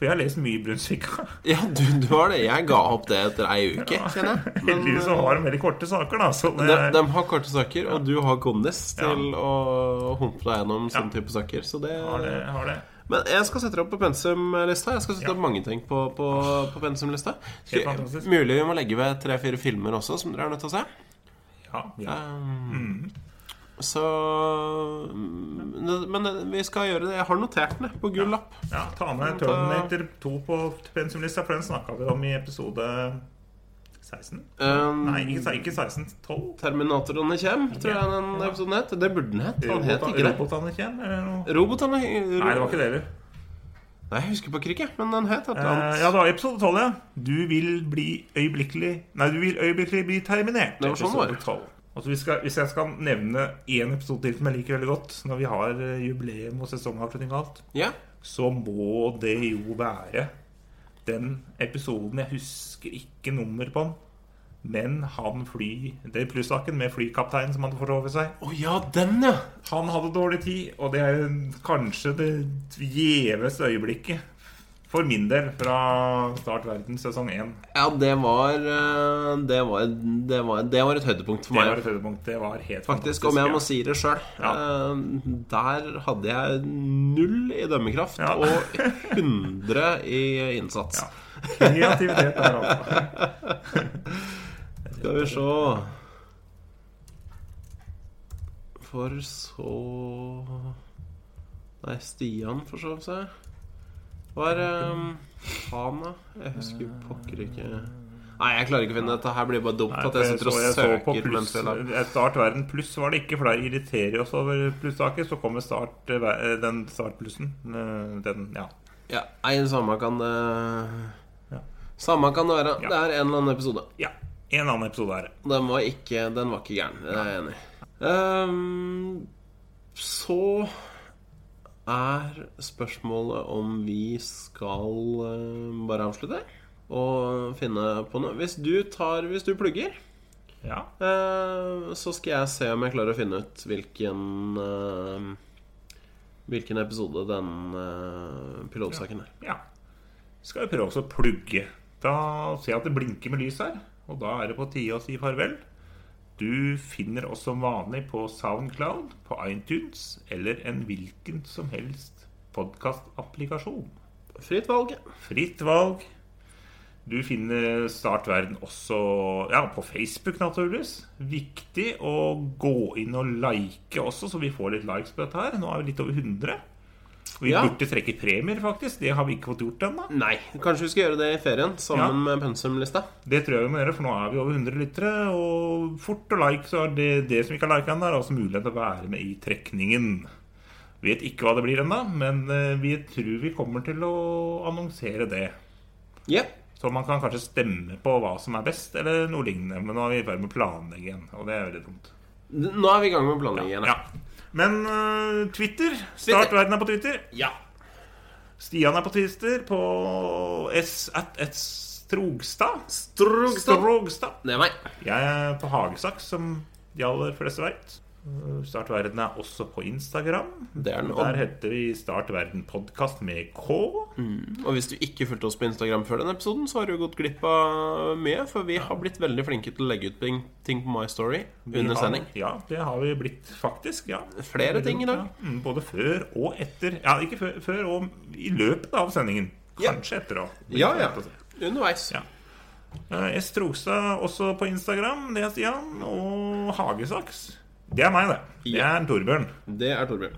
Speaker 2: For jeg har lest mye Brunsvika.
Speaker 1: ja, du, du har det. Jeg ga opp det etter ei uke, kjenner jeg. Men
Speaker 2: Heldigvis så har de veldig korte saker, da. Så det,
Speaker 1: de, de har korte saker, og du har kondis til å humpe deg gjennom sånne type saker. Så det,
Speaker 2: har det, har det.
Speaker 1: Men jeg skal sette deg opp på pensumlista. Jeg skal sette opp mange ting på, på, på pensumlista. Skal-
Speaker 2: Helt fantastisk.
Speaker 1: Mulig vi må legge ved tre-fire filmer også, som dere er nødt til å se.
Speaker 2: Ja, ja.
Speaker 1: Um, Så mm, Men vi skal gjøre det. Jeg har notert den jeg, på gul lapp.
Speaker 2: Ja, ta med
Speaker 1: Ta-
Speaker 2: Terminator 2 på pensumlista, for den snakka vi om i episode 16.
Speaker 1: Um,
Speaker 2: Nei, ikke, ikke 16, 12.
Speaker 1: Terminatorene kjem, tror jeg den episoden het. Det burde den het. Han het
Speaker 2: Robota-
Speaker 1: ikke det.
Speaker 2: Robotene kommer, eller noe?
Speaker 1: Robotene
Speaker 2: Nei, det var ikke det heller.
Speaker 1: Nei, jeg husker bare ikke, men den het et eller
Speaker 2: Eh, ja,
Speaker 1: annet.
Speaker 2: det var episode 12, ja. Du vil bli øyeblikkelig Nei, du vil øyeblikkelig bli terminert.
Speaker 1: Det var sånn det var.
Speaker 2: Episode 12. Altså, vi skal, hvis jeg skal nevne én episode til som jeg liker veldig godt, når vi har eh, jubileum og sesongavslutning og alt,
Speaker 1: Ja.
Speaker 2: så må det jo være den episoden Jeg husker ikke nummer på den. Men han fly Det er plussaken med flykapteinen som hadde forsovet seg.
Speaker 1: Å ja, den, ja!
Speaker 2: Han hadde dårlig tid, og det er kanskje det gjeveste øyeblikket For min del fra Start verden sesong 1.
Speaker 1: Ja, det var eh, Det var, det var, det var et høydepunkt for
Speaker 2: Det var
Speaker 1: meg.
Speaker 2: et høydepunkt. Det var helt
Speaker 1: Faktisk, om jeg må
Speaker 2: ja.
Speaker 1: si det sjøl.
Speaker 2: Ja.
Speaker 1: Der hadde jeg null i dømmekraft
Speaker 2: Ja.
Speaker 1: og 100 i innsats.
Speaker 2: Kreativitet der, altså.
Speaker 1: Skal vi se For så Nei, Stian forsov seg. Var um, faen, da? Jeg husker pokker ikke Nei, jeg klarer ikke å finne dette. Her blir bare dumt
Speaker 2: Nei,
Speaker 1: at jeg
Speaker 2: for
Speaker 1: sitter og
Speaker 2: så- jeg så på
Speaker 1: søker
Speaker 2: pluss-
Speaker 1: mens jeg lager
Speaker 2: eh, Start verden pluss var det ikke, for da irriterer vi oss over plussaker. Så kommer start, eh, ver- eh, den startplussen. Eh, Den, ja.
Speaker 1: Ja, nei, samme kan det
Speaker 2: Ja.
Speaker 1: Samme kan det være.
Speaker 2: Ja.
Speaker 1: Det er en eller annen episode.
Speaker 2: ja. En annen episode er det.
Speaker 1: Den var ikke, den var ikke gæren. Det er jeg enig i. Ehm, så er spørsmålet om vi skal eh, bare avslutte og finne på noe. Hvis du, tar, hvis du plugger,
Speaker 2: Ja.
Speaker 1: eh, så skal jeg se om jeg klarer å finne ut hvilken eh, Hvilken episode den eh, pilotsaken er.
Speaker 2: ja. Skal vi prøve også å plugge. Da ser jeg at det blinker med lys her, og da er det på tide å si farvel. Du finner oss som vanlig på Soundcloud, på iTunes eller en hvilken som helst podkastapplikasjon.
Speaker 1: Fritt valg.
Speaker 2: Fritt valg. Du finner Start Verden også ja, på Facebook, naturligvis. Viktig å gå inn og like også, så vi får litt likes på dette her. Nå er vi litt over 100. Og vi
Speaker 1: Ja.
Speaker 2: burde trekke premier, faktisk. Det har vi ikke fått gjort ennå.
Speaker 1: Nei, kanskje vi skal gjøre det i ferien sammen
Speaker 2: Ja.
Speaker 1: med pensumlista.
Speaker 2: Det tror jeg vi må gjøre, for nå er vi over 100 lyttere. Og fort å like, så er det det som ikke har liket ennå, er altså mulighet til å være med i trekningen. Vet ikke hva det blir ennå, men eh, vi tror vi kommer til å annonsere det.
Speaker 1: Ja.
Speaker 2: Så man kan kanskje stemme på hva som er best, eller noe lignende. Men nå er vi i ferd med å planlegge igjen, og det er veldig dumt.
Speaker 1: Nå er vi i gang med planleggingen.
Speaker 2: Ja. Men eh, Twitter Start verden er på Twitter.
Speaker 1: ja.
Speaker 2: Stian er på Twitter på s at at Strogstad.
Speaker 1: Strugstad.
Speaker 2: Strogstad.
Speaker 1: Det er meg.
Speaker 2: Jeg er på Hagesaks, som de aller fleste veit. Start verden er også på Instagram.
Speaker 1: Det er den.
Speaker 2: Der
Speaker 1: Og,
Speaker 2: heter vi Start verden podkast med K.
Speaker 1: Mm, og hvis du ikke fulgte oss på Instagram før den episoden, så har du gått glipp av mye, for vi har blitt veldig flinke til å legge ut ting- ting på My Story under sending.
Speaker 2: Ja, det har vi blitt, faktisk. ja
Speaker 1: Flere ting i dag.
Speaker 2: Ja, mm, Både før og etter. Ja, ikke før, før og i løpet av sendingen.
Speaker 1: Ja.
Speaker 2: Kanskje etter òg.
Speaker 1: Ja, ja. Underveis.
Speaker 2: Ja. altså. Eh, S. Trogstad også på Instagram, det er Stian. Og Hagesaks. Det er meg, det. Det
Speaker 1: Ja.
Speaker 2: er Torbjørn.
Speaker 1: Det er Torbjørn.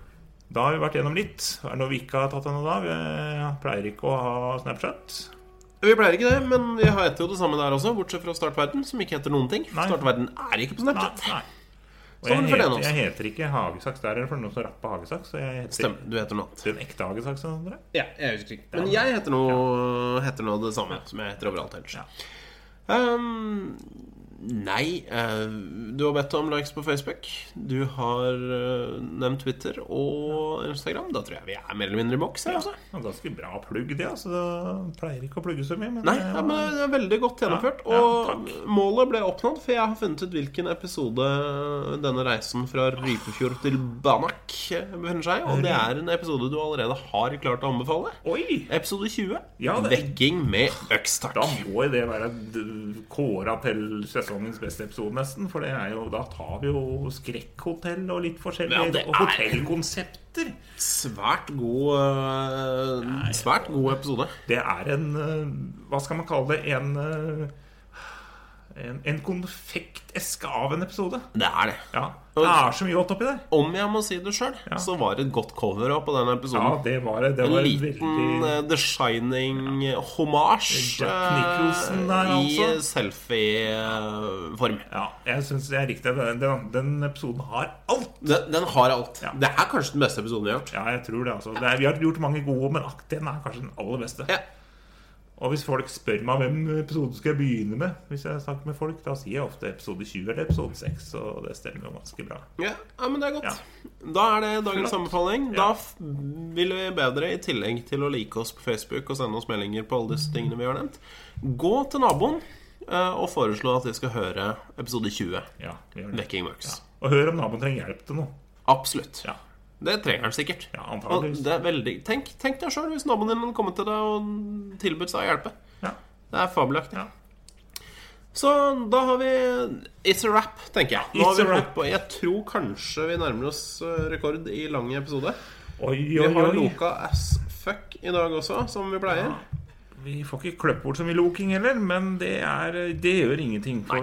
Speaker 2: Da har vi vært gjennom litt. Er det noe vi ikke har tatt ennå da? Vi eh, pleier ikke å ha Snapchat.
Speaker 1: Vi pleier ikke det, men vi heter jo det samme der også, bortsett fra Startverden, som ikke heter noen ting.
Speaker 2: Nei.
Speaker 1: Startverden er ikke på
Speaker 2: Nei.
Speaker 1: Snapchat.
Speaker 2: nei. Og
Speaker 1: Sånn
Speaker 2: jeg,
Speaker 1: for den
Speaker 2: heter,
Speaker 1: også.
Speaker 2: jeg heter ikke Hagesaks der, eller for noen som rapper Hagesaks. Så jeg heter
Speaker 1: Stemmer. Du heter noe annet.
Speaker 2: den ekte Hagesaks. sånn, Andre.
Speaker 1: Ja, jeg husker ikke. Men jeg heter nå heter nå det samme som jeg heter overalt ellers.
Speaker 2: Ja.
Speaker 1: Ehm, nei eh, Du har bedt om likes på Facebook. Du har eh, nevnt Twitter og Instagram. Da tror jeg vi er mer eller mindre i boks. her,
Speaker 2: Ja,
Speaker 1: altså.
Speaker 2: det var ganske bra plugg, det. altså Det Pleier ikke å plugge så mye. Men eh,
Speaker 1: Nei,
Speaker 2: det
Speaker 1: ja,
Speaker 2: var-
Speaker 1: men det er veldig godt gjennomført.
Speaker 2: Ja, ja,
Speaker 1: og
Speaker 2: takk.
Speaker 1: målet ble oppnådd, for jeg har funnet ut hvilken episode denne reisen fra Rypefjord til Banak eh, befinner seg i. Og det er en episode du allerede har klart å anbefale.
Speaker 2: Oi!
Speaker 1: Episode 20.
Speaker 2: Ja, det-
Speaker 1: Vekking med øks, takk.
Speaker 2: Da må jo det være d- kåra til sesongens beste episode, nesten. For det er jo, da tar vi jo skrekkhotell og litt
Speaker 1: Ja,
Speaker 2: forskjellig.
Speaker 1: det
Speaker 2: og
Speaker 1: er-
Speaker 2: hotellkonsepter.
Speaker 1: Svært god eh, Svært god episode.
Speaker 2: Det er en eh, Hva skal man kalle det? En eh, en, en konfekteske av en episode.
Speaker 1: Det er det.
Speaker 2: Ja, Det er så mye godt oppi der.
Speaker 1: Om jeg må si det sjøl, så var det et godt cover også på den
Speaker 2: Ja,
Speaker 1: episoden.
Speaker 2: det var det. Det
Speaker 1: en
Speaker 2: var
Speaker 1: liten
Speaker 2: veldig
Speaker 1: eh, The Shining-homasj
Speaker 2: Jack Nicholson der, altså.
Speaker 1: øh, i selfie-form.
Speaker 2: Ja, jeg syns jeg likte den. Den, den episoden har alt.
Speaker 1: Den, den har alt.
Speaker 2: Ja.
Speaker 1: Det er kanskje den beste episoden vi har gjort.
Speaker 2: Ja, jeg tror det, altså. Det er, vi har gjort mange gode, men ak- den er kanskje den aller beste.
Speaker 1: Ja.
Speaker 2: Og hvis folk spør meg hvem episode skal jeg begynne med, Hvis jeg snakker med folk, da sier jeg ofte episode 20 eller episode 6, så det stemmer jo ganske bra.
Speaker 1: Ja, ja, men det er godt. Da er det dagens
Speaker 2: Flott.
Speaker 1: anbefaling.
Speaker 2: Ja.
Speaker 1: Da f- vil vi bedre, i tillegg til å like oss på Facebook og sende oss meldinger på alle disse tingene vi har nevnt, gå til naboen eh, og foreslå at vi skal høre episode 20,
Speaker 2: Ja, vi gjør det.
Speaker 1: Vekking Works.
Speaker 2: Og hør om naboen trenger hjelp til noe.
Speaker 1: Absolutt.
Speaker 2: Ja.
Speaker 1: Det trenger han sikkert.
Speaker 2: Ja,
Speaker 1: Og
Speaker 2: antageligvis.
Speaker 1: det er veldig... Tenk, tenk deg sjøl hvis naboen din hadde kommet til deg og tilbudt seg å hjelpe.
Speaker 2: Ja.
Speaker 1: Det er fabelaktig.
Speaker 2: Ja.
Speaker 1: Så da har vi It's a wrap, tenker jeg. Nå
Speaker 2: It's
Speaker 1: har vi
Speaker 2: a
Speaker 1: holdt
Speaker 2: wrap.
Speaker 1: på Jeg tror kanskje vi nærmer oss eh, rekord i lang episode.
Speaker 2: Oi,
Speaker 1: Vi
Speaker 2: oi,
Speaker 1: har
Speaker 2: oi.
Speaker 1: loka as fuck i dag også, som vi pleier.
Speaker 2: Vi får ikke kløpt bort så mye loking heller, men det, er, det gjør ingenting. For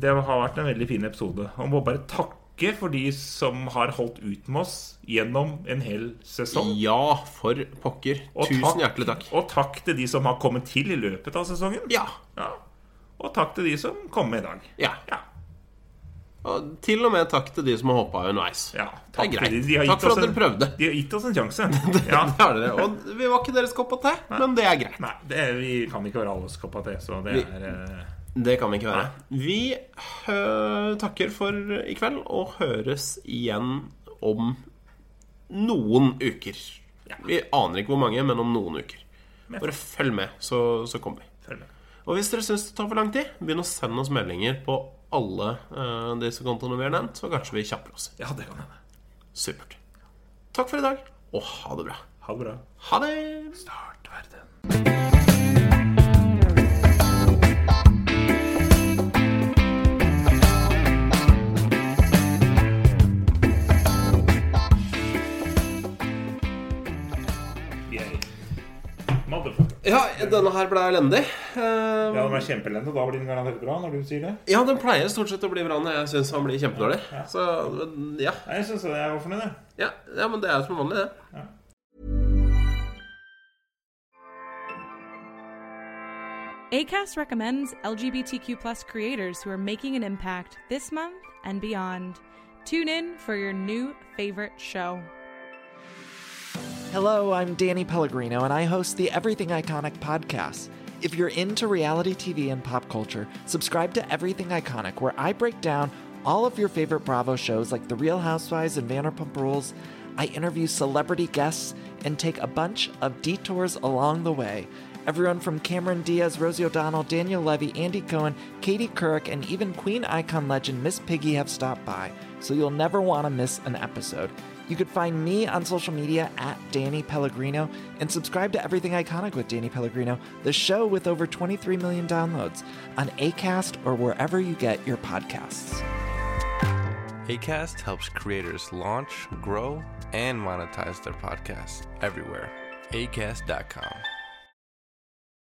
Speaker 2: det har vært en veldig fin episode. Og må bare takke for de som har holdt ut med oss gjennom en hel sesong.
Speaker 1: Ja, for pokker. Tusen hjertelig takk.
Speaker 2: Og takk til de som har kommet til i løpet av sesongen.
Speaker 1: Ja.
Speaker 2: Ja. Og takk til de som kom med i dag.
Speaker 1: ja.
Speaker 2: Ja.
Speaker 1: Og til og med takk til de som har hoppa underveis.
Speaker 2: ja
Speaker 1: Det er
Speaker 2: til
Speaker 1: greit.
Speaker 2: de. De har gitt
Speaker 1: takk for
Speaker 2: oss
Speaker 1: at dere
Speaker 2: en-
Speaker 1: prøvde.
Speaker 2: De har gitt oss en sjanse. Ja.
Speaker 1: Det har dere. Og vi var ikke deres kopp av te, men det er greit.
Speaker 2: Nei, det, vi kan ikke være alles kopp av te, så det
Speaker 1: Vi-
Speaker 2: er eh,
Speaker 1: Det kan vi ikke være. Vi hø- takker for i kveld og høres igjen om noen uker. Vi aner ikke hvor mange, men om noen uker.
Speaker 2: Men-
Speaker 1: Bare følg med, så, så kommer vi.
Speaker 2: Følg med.
Speaker 1: Og hvis dere syns det tar for lang tid, begynn å sende oss meldinger på alle eh, disse kontoene vi har nevnt, så kanskje vi kjapper oss.
Speaker 2: Ja, det kan hende.
Speaker 1: Supert. Takk for i dag, og ha det bra.
Speaker 2: Ha det bra.
Speaker 1: Ha det!
Speaker 2: Start verden. Yay. Motherfucker.
Speaker 1: Ja, denne her ble elendig. Eh,
Speaker 2: Ja, den er kjempelende. Da blir den garantert bra når du sier det.
Speaker 1: ja, den pleier stort sett å bli bra når jeg syns han blir kjempedårlig. Så men ja.
Speaker 2: Nei, jeg syns jeg var fornøyd, jeg.
Speaker 1: Ja, ja, men det er jo som vanlig, det.
Speaker 4: ACAST recommends LGBTQ plus creators who are making an impact this month and beyond. Tune in for your new favorite show.
Speaker 5: Hello, I'm Danny Pellegrino, and I host the Everything Iconic podcast. If you're into reality TV and pop culture, subscribe to Everything Iconic, where I break down all of your favorite Bravo shows like The Real Housewives and Vanderpump Rules. I interview celebrity guests and take a bunch of detours along the way. Everyone from Cameron Diaz, Rosie O'Donnell, Daniel Levy, Andy Cohen, Katie Couric, and even Queen icon legend Miss Piggy have stopped by, so you'll never want to miss an episode. You could find me on social media at Danny Pellegrino and subscribe to Everything Iconic with Danny Pellegrino, the show with over 23 million downloads on ACAST or wherever you get your podcasts.
Speaker 6: ACAST helps creators launch, grow, and monetize their podcasts everywhere. ACAST.com.